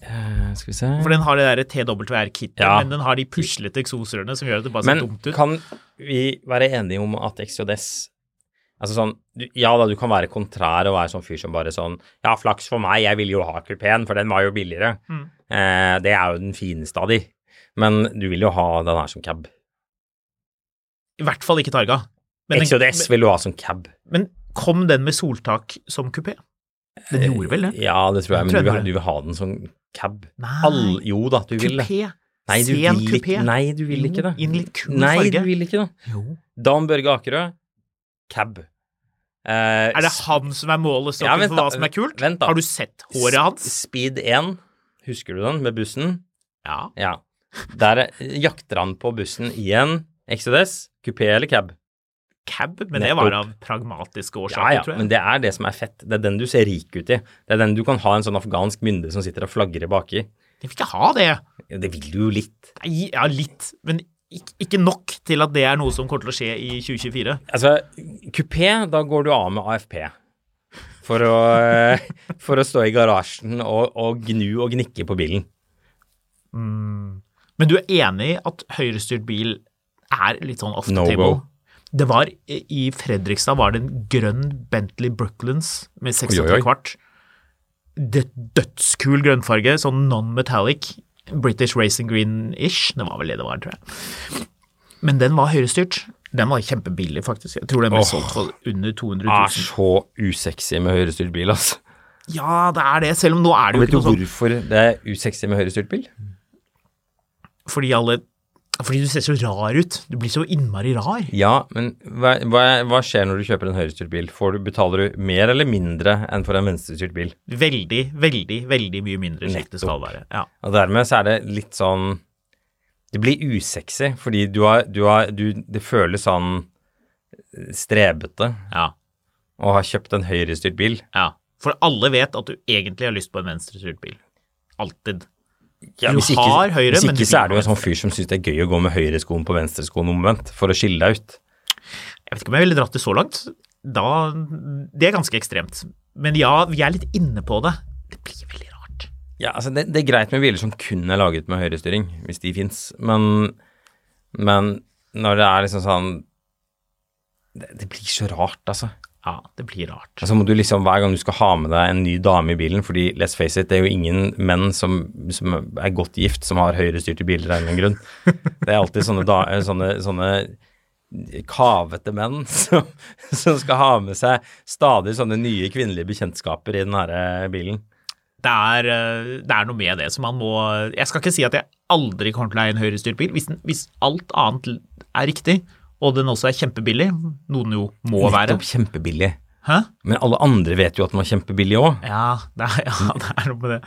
Eh, Skal vi se
For den har det derre TWR-kittet,
Ja.
men den har de puslete eksosrørene som gjør at det bare ser
Men
Altså, dumt ut.
kan vi være enige om at XJS Altså sånn, du- ja da, du kan være kontrær og være sånn fyr som bare sånn Ja, flaks for meg, jeg ville jo ha kupeen, for den var jo billigere.
Mm.
Eh, det er jo den fineste av de. Men du vil jo ha den her som cab.
I hvert fall ikke Targa. Men, den-
XJS vil du ha som cab.
men, men kom den med soltak som kupé? Den gjorde vel det?
Ja, det tror Eh, jeg, men
Tror jeg
du,
det.
vil, du vil ha den som cab.
Nei.
All, jo da, du vil det.
Kupé.
Nei, du
Sen
vil
kupé.
ikke, nei, du vil ikke
Jo,
det.
I en litt kul
nei,
farge.
du vil ikke det.
Jo.
Dan Børge Akerø, cab. Eh,
Er det han som er målestokken
Ja, vent
for
da,
hva som er kult?
vent da.
Har du sett håret hans?
S- Speed 1, husker du den, med bussen?
Ja.
Ja. Der eh, jakter han på bussen i en Exodus, kupé eller cab.
Cab, men det var
Nettopp.
av pragmatiske
Ja,
årsaker,
ja,
tror jeg.
men det er det som er fett. Det er den du ser rik ut i. Det er den du kan ha en sånn afghansk mynde som sitter og flagrer baki.
De fikk ikke ha det.
Ja, Det vil du jo litt.
Nei, ja, litt, men ikke, ikke nok til at det er noe som kommer til å skje i 2024.
Altså, kupé, da går du av med AFP. For å, eh, for å stå i garasjen og, og gnu og gnikke på bilen.
Men du er enig i at høyrestyrt bil er litt sånn off the
No
table?
go.
Det var i Fredrikstad var det en grønn Bentley Brooklands med
Oi,
6
oi, oi.
kvart. Det dødskul grønnfarge, sånn non-metallic, British Racing Green-ish. Det var vel det det var, tror jeg. Men den var høyrestyrt. Den var kjempebillig, faktisk. Jeg tror den ble solgt for under 200 000.
Er så usexy med høyrestyrt bil, altså.
Ja, det er det, selv om nå er det jo
Vet du
ikke noe sånn
hvorfor det er usexy med høyrestyrt bil?
sånn- fordi alle Fordi du ser så rar ut. Du blir så innmari rar.
Ja, men hva, hva, hva skjer når du kjøper en høyrestyrt bil? Får du, betaler du mer eller mindre enn for en venstrestyrt bil?
Veldig, veldig, veldig mye mindre slik det skal være. Ja.
Og dermed så er det litt sånn Det blir usexy, fordi du har, du har du, Det føles sånn strebete
ja,
å ha kjøpt en høyrestyrt bil.
ja. For alle vet at du egentlig har lyst på en venstrestyrt bil. Alltid.
Ja,
Du
hvis ikke,
har høyre,
hvis
men
ikke
du
så
vil
er du
ha
en sånn fyr som syns det er gøy å gå med høyreskoen på venstreskoen omvendt, for å skille deg ut.
Jeg vet ikke om jeg ville dratt det så langt. Da, det er ganske ekstremt. Men ja, vi er litt inne på det. Det blir veldig rart.
Ja, altså det, det er greit med biler som kun er laget med høyrestyring, hvis de fins, men, men når det er liksom sånn det, det blir så rart, altså.
Ja, det blir rart.
Altså må du liksom Hver gang du skal ha med deg en ny dame i bilen, fordi let's face it, det er jo ingen menn som, som er godt gift som har høyrestyrte biler av en eller annen grunn. Det er alltid sånne, da, sånne, sånne kavete menn som, som skal ha med seg stadig sånne nye kvinnelige bekjentskaper i den herre bilen.
Det er, eh, det er noe med det som man må Jeg skal ikke si at jeg aldri kommer til å eie en høyrestyrt bil. Hvis, den, hvis alt annet er riktig, og den også er kjempebillig, noe den jo må være.
Nettopp kjempebillig.
Hæ?
Men alle andre vet jo at den var kjempebillig òg.
Ja, det er, ja, det er noe med det.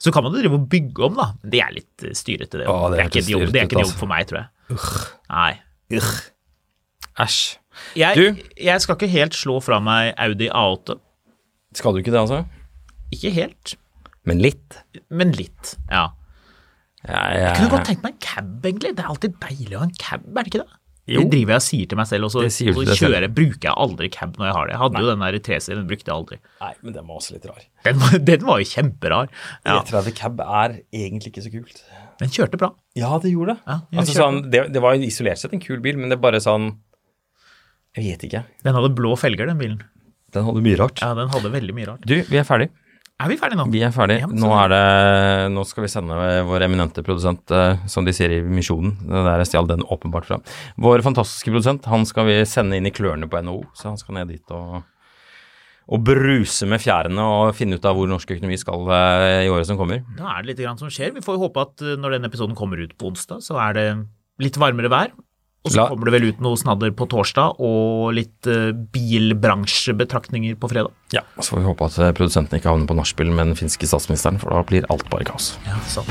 Så kan man jo drive og bygge om, da. Det er litt eh, styrete, det.
Å,
det,
det er
er ikke en jobb,
styrete,
det er ikke en
altså.
jobb for meg, tror jeg. Nei.
Æsj.
Jeg,
Du?
jeg skal ikke helt slå fra meg Audi A8.
Skal du ikke det, altså?
Ikke helt,
Men litt.
men litt. Ja.
Jeg,
Jeg kunne godt tenkt meg en cab, egentlig. Det er alltid deilig å ha en cab, er det ikke det?
Jo.
Det driver jeg og sier til meg selv, og så,
Det sier du
og
til
så
deg selv.
kjører jeg, bruker jeg aldri cab når jeg har det. Jeg hadde jo den der i 3-serien, den brukte jeg aldri.
Nei, men den var også litt rar.
Den var, den var jo kjemperar. Ja,
E30 cab er egentlig ikke så kult.
den kjørte bra.
Ja, det gjorde det.
Ja, jeg
altså,
kjørte
sånn, det, det var jo isolert sett en kul bil, men det er bare sånn Jeg vet ikke.
Den hadde blå felger, den bilen.
Den hadde mye rart.
Ja, den hadde veldig mye rart.
Du, vi er ferdig.
Er vi ferdige nå?
Vi er ferdig.
Ja, men
nå,
så-
er det, nå skal vi sende vår eminente produsent, eh, som de sier i Misjonen, det der jeg stjal den åpenbart fra. Vår fantastiske produsent, han skal vi sende inn i klørne på NHO, så han skal ned dit og, og bruse med fjærene og finne ut av hvor norsk økonomi skal eh, i året som kommer.
Da er det litt grann som skjer. Vi får jo håpe at eh, når denne episoden kommer ut på onsdag, så er det litt varmere vær. Og så
La-
kommer det vel ut noe snadder på torsdag, og litt eh, bilbransjebetraktninger på fredag.
Ja, Så får vi håpe at eh, produsenten ikke havner på nachspiel med den finske statsministeren, for da blir alt bare kaos.
Ja, sånn.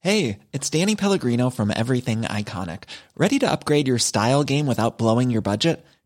Hey, it's Danny Pellegrino from Everything Iconic. Ready to upgrade your style game without blowing your budget?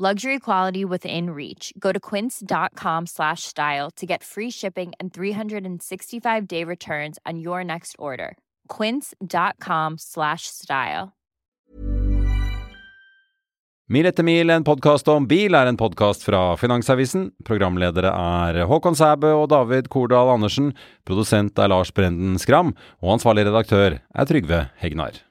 Luxury quality within reach. Go to quince.com slash style to get free shipping and 365 day returns on your next order. Quince.com slash style.
Mil etter mil, en podkast om bil, er en podkast fra Finansavisen. Programledere er Håkon Sæbø og David Kordal Andersen. Produsent er Lars Brenden Skram. Og ansvarlig redaktør er Trygve Hegnar.